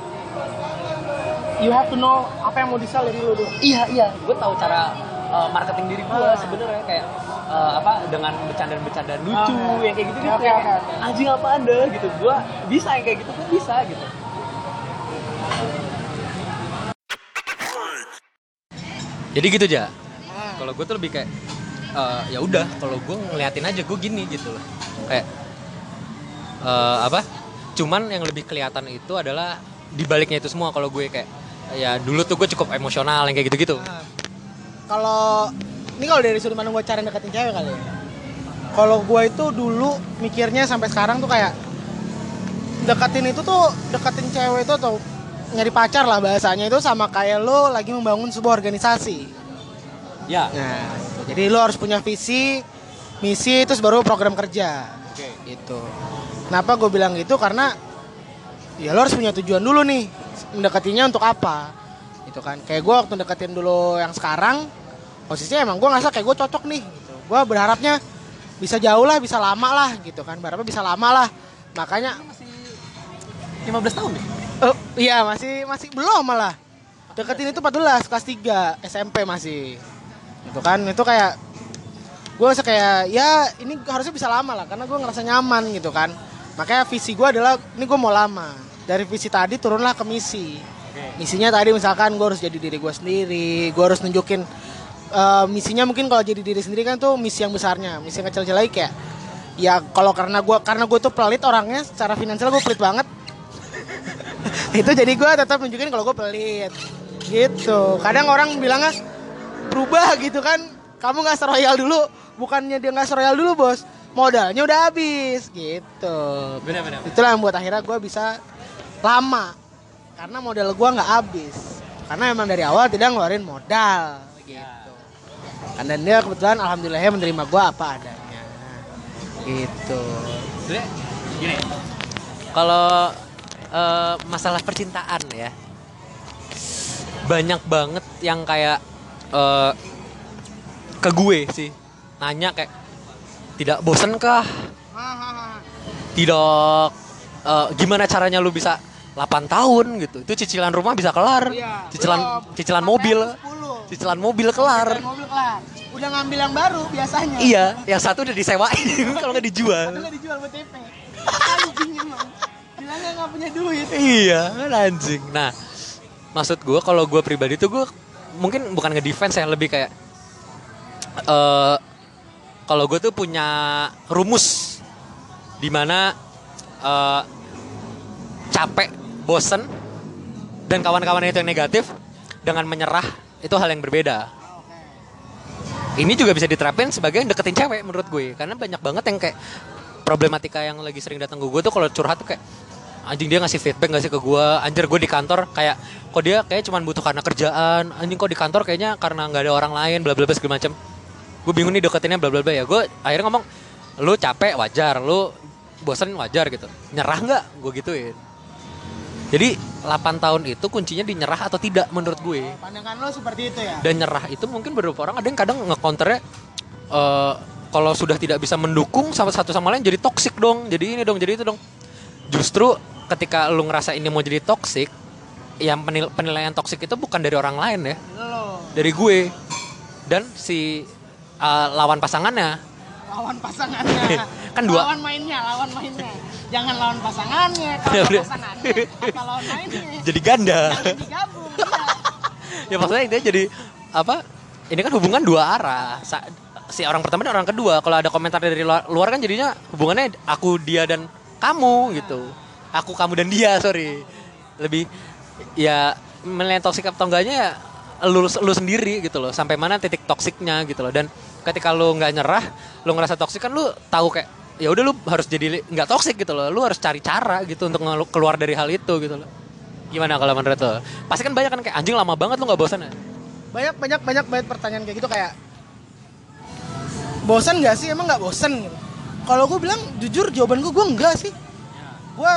you have to know apa yang mau disel dari lu dulu. iya iya gue tahu cara uh, marketing diri gue Ah. sebenarnya kayak uh, apa dengan bercandaan-bercandaan lucu Oke. yang kayak gitu gitu Ah. Oke, kayak oke, oke. anjing apa anda gitu gue bisa yang kayak gitu gue bisa gitu jadi gitu aja Ah. kalau gue tuh lebih kayak eh, ya udah kalau gue ngeliatin aja gue gini gitu loh kayak eh, apa cuman yang lebih kelihatan itu adalah di baliknya itu semua kalau gue kayak ya dulu tuh gue cukup emosional yang kayak gitu-gitu kalau ini kalau dari sudut pandang gue cara deketin cewek kali ya. Kalau gue itu dulu mikirnya sampai sekarang tuh kayak deketin itu tuh deketin cewek itu tuh nyari pacar lah bahasanya itu sama kayak lo lagi membangun sebuah organisasi. ya Nah, jadi lo harus punya visi, misi, terus baru program kerja. Gitu. Kenapa gue bilang gitu? Karena ya lo harus punya tujuan dulu nih. Mendekatinya untuk apa? Gitu kan. Kayak gue waktu deketin dulu yang sekarang, posisinya emang gue ngerasa kayak gue cocok nih. Gitu. Gue berharapnya bisa jauh lah, bisa lama lah gitu kan. Berharapnya bisa lama lah. Makanya 15 tahun deh Oh, iya masih masih belum malah. Deketin itu 14 kelas 3 SMP masih. Gitu kan itu kayak gue rasa kayak ya ini harusnya bisa lama lah karena gue ngerasa nyaman gitu kan. Makanya visi gue adalah ini gue mau lama. Dari visi tadi turunlah ke misi. Misinya tadi misalkan gue harus jadi diri gue sendiri, gue harus nunjukin eh, misinya mungkin kalau jadi diri sendiri kan tuh misi yang besarnya, misi yang kecil-kecil lagi kayak ya kalau karena gue karena gue tuh pelit orangnya secara finansial gue pelit banget itu jadi gue tetap nunjukin kalau gue pelit gitu kadang orang bilangnya berubah gitu kan kamu nggak seroyal dulu bukannya dia nggak seroyal dulu bos modalnya udah habis gitu benar-benar itulah yang buat akhirnya gue bisa lama karena modal gue nggak habis karena emang dari awal tidak ngeluarin modal gitu kan dan dia kebetulan alhamdulillahnya menerima gue apa adanya gitu Sebenernya gini kalau eh, masalah percintaan ya banyak banget yang kayak eh, ke gue sih nanya kayak tidak bosenkah tidak eh, gimana caranya lu bisa 8 tahun gitu itu cicilan rumah bisa kelar cicilan cicilan mobil cicilan mobil kelar Dan mobil kelar. Udah ngambil yang baru biasanya. iya yang satu udah disewain kalau nggak Atau dijual nggak dijual buat TP. Anjing emang. Bilangnya nggak punya duit. iya kan anjing nah maksud gue kalau gue pribadi tuh gue mungkin bukan ngedefense ya lebih kayak eh kalau gue tuh punya rumus dimana eh capek bosen dan kawan-kawan itu yang negatif dengan menyerah itu hal yang berbeda ini juga bisa diterapin sebagai deketin cewek menurut gue karena banyak banget yang kayak problematika yang lagi sering datang ke gue tuh kalau curhat tuh kayak anjing dia ngasih feedback nggak sih ke gue anjir gue di kantor kayak kok dia kayak cuman butuh karena kerjaan anjing kok di kantor kayaknya karena nggak ada orang lain bla bla bla segala macam gue bingung nih deketinnya bla bla bla ya gue akhirnya ngomong lu capek wajar lu bosen wajar gitu nyerah nggak gue gituin jadi 8 tahun itu kuncinya di nyerah atau tidak menurut gue Pandangan lo seperti itu ya. dan nyerah itu mungkin beberapa orang ada yang kadang ngekonternya eh kalau sudah tidak bisa mendukung sama satu sama lain jadi toksik dong jadi ini dong jadi itu dong justru ketika lu ngerasa ini mau jadi toksik yang penil- penilaian toksik itu bukan dari orang lain ya Lo dari gue dan si eh, lawan pasangannya lawan pasangannya. Kan dua. Lawan mainnya, lawan mainnya. Jangan lawan pasangannya, Ya kalau lawan udah. pasangannya atau lawan mainnya. jadi ganda Jangan digabung. Iya. ya maksudnya dia jadi apa ini kan hubungan dua arah Sa- si orang pertama dan orang kedua kalau ada komentar dari luar, luar kan jadinya hubungannya aku dia dan kamu gitu aku kamu dan dia sorry lebih ya menilai toksik atau enggaknya ya lu, lu sendiri gitu loh sampai mana titik toksiknya gitu loh dan ketika lu nggak nyerah lu ngerasa toksik kan lu tahu kayak ya udah lu harus jadi li- nggak toksik gitu loh lu harus cari cara gitu untuk ngelu- keluar dari hal itu gitu loh gimana kalau menurut lo pasti kan banyak kan kayak anjing lama banget lu nggak bosan ya Banyak banyak banyak banyak pertanyaan kayak gitu kayak bosan gak sih emang nggak bosan gitu. kalau gue bilang jujur jawaban gue gue enggak sih gue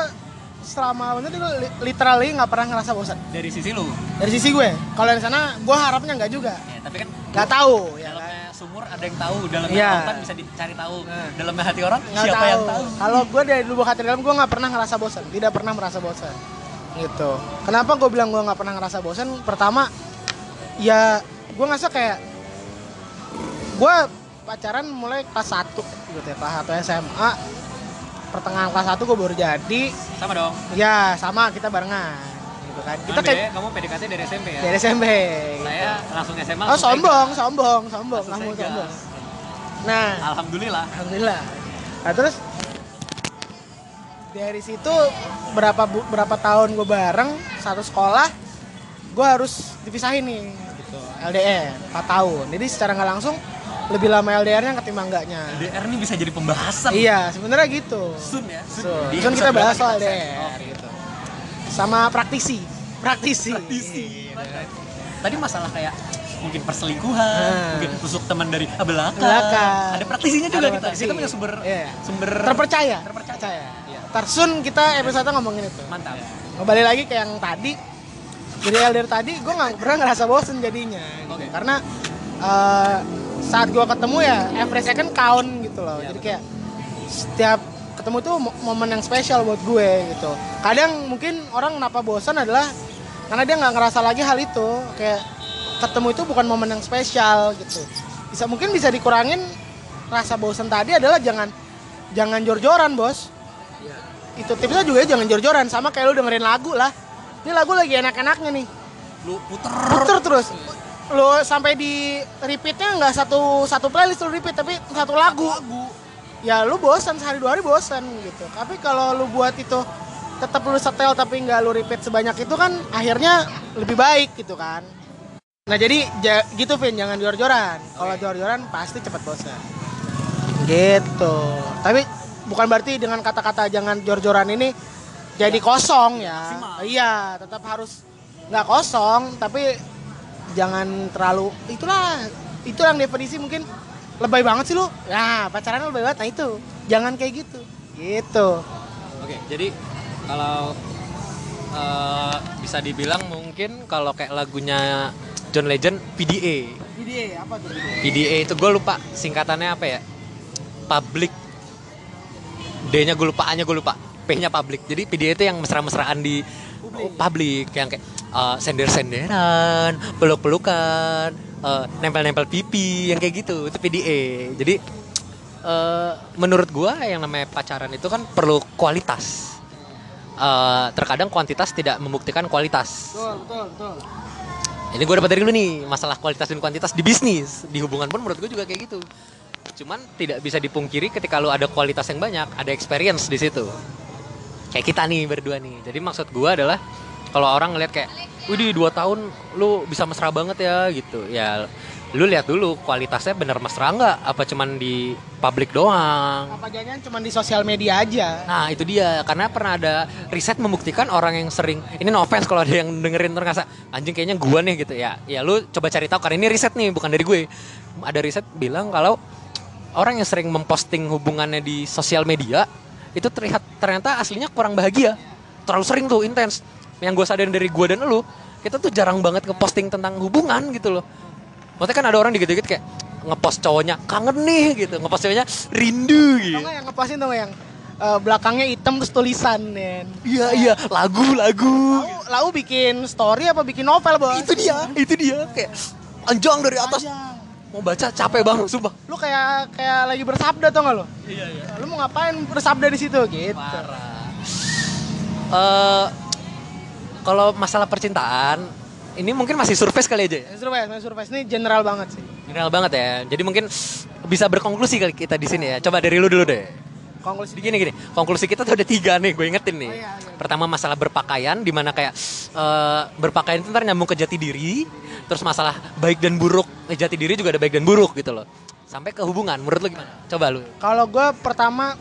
selama bener gue li- literally nggak pernah ngerasa bosan dari sisi lu dari sisi gue kalau yang sana gue harapnya nggak juga ya, tapi kan nggak tahu ya kan? dalamnya sumur ada yang tahu dalamnya Iya. Nah. lautan bisa dicari tahu dalamnya hati orang nggak siapa tahu. yang tahu kalau gue dari lubuk hati dalam gue nggak pernah ngerasa bosan tidak pernah merasa bosan gitu kenapa gue bilang gue nggak pernah ngerasa bosan pertama ya gue ngerasa kayak gue pacaran mulai kelas 1 gitu ya kelas 1 SMA pertengahan kelas 1 gue baru jadi sama dong ya sama kita barengan gitu kan kita kita kayak kamu PDKT dari SMP ya dari SMP saya langsung SMA oh langsung sombong sombong sombong Langsung saya kamu gas. sombong nah pegang. alhamdulillah Alhamdulillah. Nah, terus dari situ berapa bu- berapa tahun gue bareng satu sekolah, gue harus dipisahin nih gitu. LDR 4 tahun. Jadi secara nggak langsung lebih lama LDR-nya ketimbang enggaknya. DR ini bisa jadi pembahasan Iya, sebenarnya gitu. Sun ya Sun. So, Di Sun kita episode bahas berapa soal kita LDR share? Oke. gitu. Sama praktisi, praktisi. Praktisi. Iya, kan? tadi masalah kayak mungkin perselingkuhan, Hmm. mungkin tusuk teman dari ah, belakang. Belakang. Ada praktisinya juga Ada kita. praktisi. Kita punya sumber Iya. sumber Terpercaya, Terpercaya. Iya. Tersun kita episode ngomongin itu. mantap. kembali lagi ke yang tadi jadi elder tadi gue nggak pernah ngerasa bosen jadinya gitu. Oke. karena eh, saat gue ketemu ya every second count gitu loh Iya, jadi kayak setiap ketemu tuh mo- momen yang spesial buat gue gitu kadang mungkin orang kenapa bosan adalah karena dia nggak ngerasa lagi hal itu kayak ketemu itu bukan momen yang spesial gitu bisa mungkin bisa dikurangin rasa bosan tadi adalah jangan jangan jor-joran bos itu tipsnya juga jangan jor-joran sama kayak lu dengerin lagu lah ini lagu lagi enak-enaknya nih Lu puter. puter terus lu sampai di repeatnya nggak satu satu playlist lu repeat tapi satu lagu ya lu bosan sehari dua hari bosan gitu tapi kalau lu buat itu tetap lu setel tapi nggak lu repeat sebanyak itu kan akhirnya lebih baik gitu kan nah jadi ja- gitu Vin jangan jor-joran kalau jor-joran pasti cepat bosan gitu tapi bukan berarti dengan kata-kata jangan jor-joran ini jadi kosong ya maksimal. iya tetap harus nggak kosong tapi jangan terlalu itulah itu yang definisi mungkin lebay banget sih lu nah pacaran lebay banget nah itu jangan kayak gitu gitu Oke, jadi kalau eh, bisa dibilang mungkin kalau kayak lagunya John Legend PDA. jadi apa tuh PDA itu gue lupa singkatannya apa ya? Public. D-nya gue lupa, A-nya gue lupa, P-nya public. Jadi PDA itu yang mesra-mesraan di publik yang kayak eh, sender-senderan, peluk-pelukan, eh, nempel-nempel pipi yang kayak gitu. Itu PDA. Jadi eh, menurut gua yang namanya pacaran itu kan perlu kualitas. Eh, terkadang kuantitas tidak membuktikan kualitas. betul betul betul Ini gue dapat dari lu nih masalah kualitas dan kuantitas di bisnis, di hubungan pun menurut gue juga kayak gitu. Cuman tidak bisa dipungkiri ketika lu ada kualitas yang banyak, ada experience di situ. Kayak kita nih berdua nih. Jadi maksud gue adalah kalau orang ngeliat kayak, "Widih, dua tahun lu bisa mesra banget ya" gitu. Ya lu lihat dulu kualitasnya bener mesra nggak apa cuman di publik doang. apa jangan cuma di sosial media aja Nah itu dia karena pernah ada riset membuktikan orang yang sering ini no offense kalau ada yang dengerin terus ngerasa anjing kayaknya gua nih gitu ya ya lu coba cari tahu karena ini riset nih bukan dari gue ada riset bilang kalau orang yang sering memposting hubungannya di sosial media itu terlihat ternyata aslinya kurang bahagia terlalu sering tuh intens yang gue sadarin dari gue dan lu kita tuh jarang banget ngeposting tentang hubungan gitu loh maksudnya kan ada orang dikit-dikit kayak ngepost cowoknya kangen nih gitu ngepost cowoknya rindu tau gitu nggak yang ngepostin tau nggak yang eh, belakangnya hitam terus tulisan Nen? Iya iya lagu lagu Lau, lau bikin story apa bikin novel bos? itu dia itu dia kayak Oh. anjang dari atas Panjang. mau baca capek banget sumpah Lu kayak kayak lagi bersabda tau gak lu? Iya iya. Lu mau ngapain bersabda di situ gitu? parah Eh kalau masalah percintaan ini mungkin masih surface kali aja ya Main survei, main survei ini general banget sih. general banget ya jadi mungkin bisa berkonklusi kali kita di sini ya coba dari lu dulu deh Konklusi gini gini konklusi kita tuh ada tiga nih gue ingetin nih Oh, iya, iya. pertama masalah berpakaian dimana kayak eh, berpakaian itu ntar nyambung ke jati diri terus masalah baik dan buruk Eh, jati diri juga ada baik dan buruk gitu loh sampai ke hubungan menurut lu gimana coba lu Kalau gue pertama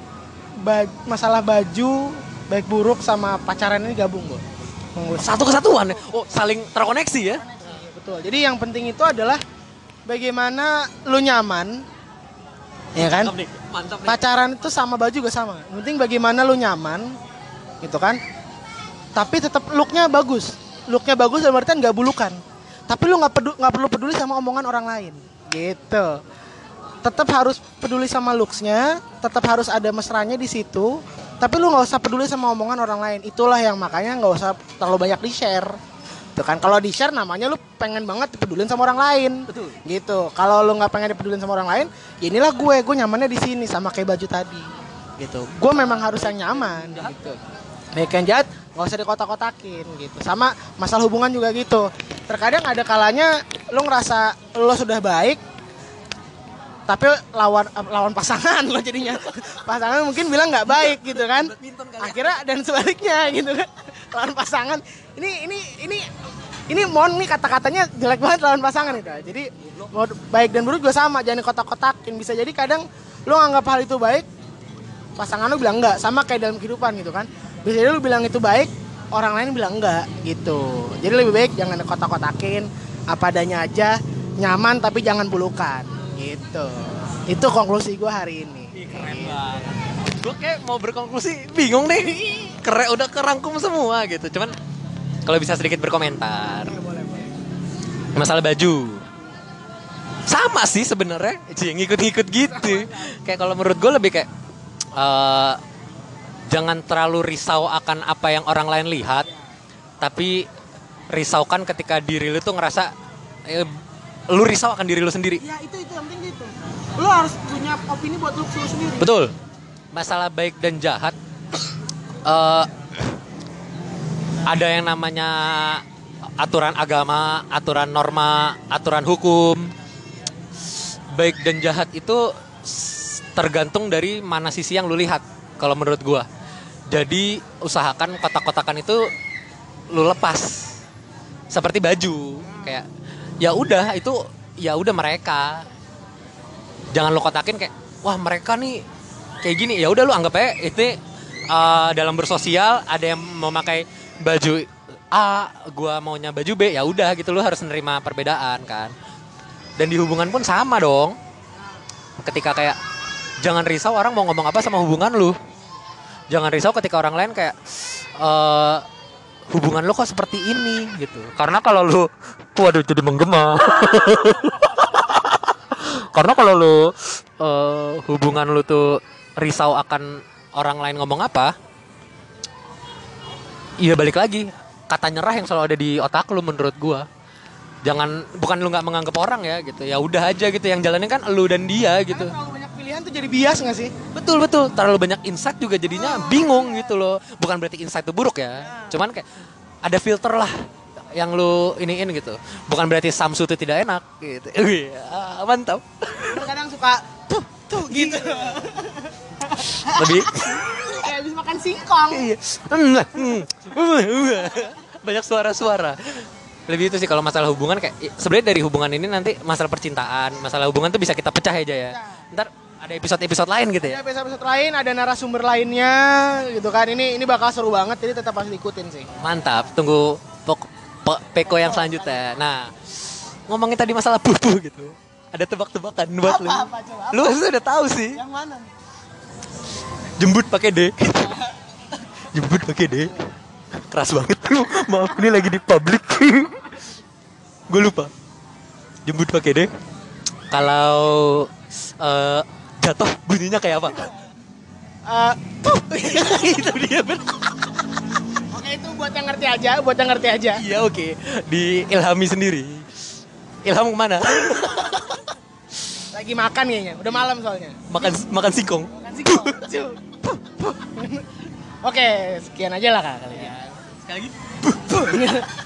ba- masalah baju baik buruk sama pacaran ini gabung gue. Konklusi. satu kesatuan ya? oh saling terkoneksi ya Iya, Betul. Jadi yang penting itu adalah bagaimana lu nyaman, ya kan? nih mantap pacaran itu sama baju juga sama Yang penting bagaimana lu nyaman gitu kan tapi tetap looknya bagus looknya bagus dalam artian nggak bulukan tapi lu nggak pedu- nggak perlu peduli sama omongan orang lain gitu tetap harus peduli sama looksnya tetap harus ada mesranya di situ tapi lu nggak usah peduli sama omongan orang lain itulah yang makanya nggak usah terlalu banyak di share tuh kan kalau di share namanya lu pengen banget dipedulin sama orang lain Betul. gitu kalau lu nggak pengen dipedulin sama orang lain ya inilah gue gue nyamannya di sini sama kayak baju tadi gitu gue memang harus yang nyaman gitu baik yang jahat nggak usah dikotak-kotakin gitu sama masalah hubungan juga gitu terkadang ada kalanya lu ngerasa lu sudah baik tapi lawan eh, lawan pasangan lo jadinya pasangan mungkin bilang nggak baik gitu kan akhirnya dan sebaliknya gitu kan lawan pasangan ini ini ini ini mohon nih kata-katanya jelek banget lawan pasangan itu jadi mau baik dan buruk juga sama jangan kotak-kotakin bisa jadi kadang lo nganggap hal itu baik pasangan lo bilang enggak sama kayak dalam kehidupan gitu kan bisa jadi lo bilang itu baik orang lain bilang enggak gitu jadi lebih baik jangan kotak-kotakin apa adanya aja nyaman tapi jangan bulukan gitu itu konklusi gue hari ini Iya. keren banget gue kayak mau berkonklusi bingung deh keren udah kerangkum semua gitu cuman kalau bisa sedikit berkomentar masalah baju sama sih sebenarnya Cie, ngikut-ngikut gitu kayak kalau menurut gue lebih kayak eh, jangan terlalu risau akan apa yang orang lain lihat tapi risaukan ketika diri lu tuh ngerasa eh, lu risau akan diri lu sendiri ya itu itu yang penting gitu lo harus punya opini buat lo sendiri Betul. Masalah baik dan jahat. eh, ada yang namanya aturan agama, aturan norma, aturan hukum. Baik dan jahat itu s- tergantung dari mana sisi yang lu lihat. Kalau menurut gua. Jadi usahakan kotak-kotakan itu lu lepas. Seperti baju, kayak ya udah itu ya udah mereka jangan lo kotakin kayak wah mereka nih kayak gini ya udah lu anggap aja itu eh, dalam bersosial ada yang memakai baju A gua maunya baju B ya udah gitu lu harus nerima perbedaan kan dan di hubungan pun sama dong ketika kayak jangan risau orang mau ngomong apa sama hubungan lu jangan risau ketika orang lain kayak eh hubungan lu kok seperti ini gitu karena kalau lu waduh jadi menggema karena kalau lu eh, hubungan lu tuh risau akan orang lain ngomong apa, ya balik lagi kata nyerah yang selalu ada di otak lu menurut gua jangan bukan lu nggak menganggap orang ya gitu ya udah aja gitu yang jalanin kan lu dan dia gitu Karena terlalu banyak pilihan tuh jadi bias nggak sih? Ah. betul betul terlalu banyak insight juga jadinya bingung gitu loh bukan berarti insight itu buruk ya cuman kayak ada filter lah yang lu iniin gitu bukan berarti samsu itu tidak enak gitu Wih, ah, mantap Lu kadang suka tuh tuh gitu. lebih Kayak habis makan singkong. Iya. Hmm, hmm. Hmm. banyak suara-suara lebih itu sih kalau masalah hubungan kayak i- sebenarnya dari hubungan ini nanti masalah percintaan masalah hubungan tuh bisa kita pecah aja ya ntar ada episode-episode lain gitu ya Ya episode-episode lain ada narasumber lainnya gitu kan. Ini ini bakal seru banget jadi tetap harus diikutin sih. Mantap, tunggu pok- pe- peko yang selanjutnya. Nah, ngomongin tadi masalah bubu gitu. Ada tebak-tebakan buat lu. Apa, apa, coba, apa? Lu pasti udah tahu sih. Yang mana? Jembut pakai D. Jembut pakai D. Keras banget. Maaf, ini lagi di publik. Gue lupa. Jembut pakai D. Kalau eh, jatuh bunyinya kayak apa? Eh, Puh. Itu dia bener. Oke itu buat yang ngerti aja, buat yang ngerti aja. Iya oke, di Ilhami sendiri. Ilham kemana? Lagi makan kayaknya, udah malam soalnya. makan makan singkong. Makan singkong. Cuk. Oke, sekian aja lah kak kali ya. Sekali lagi.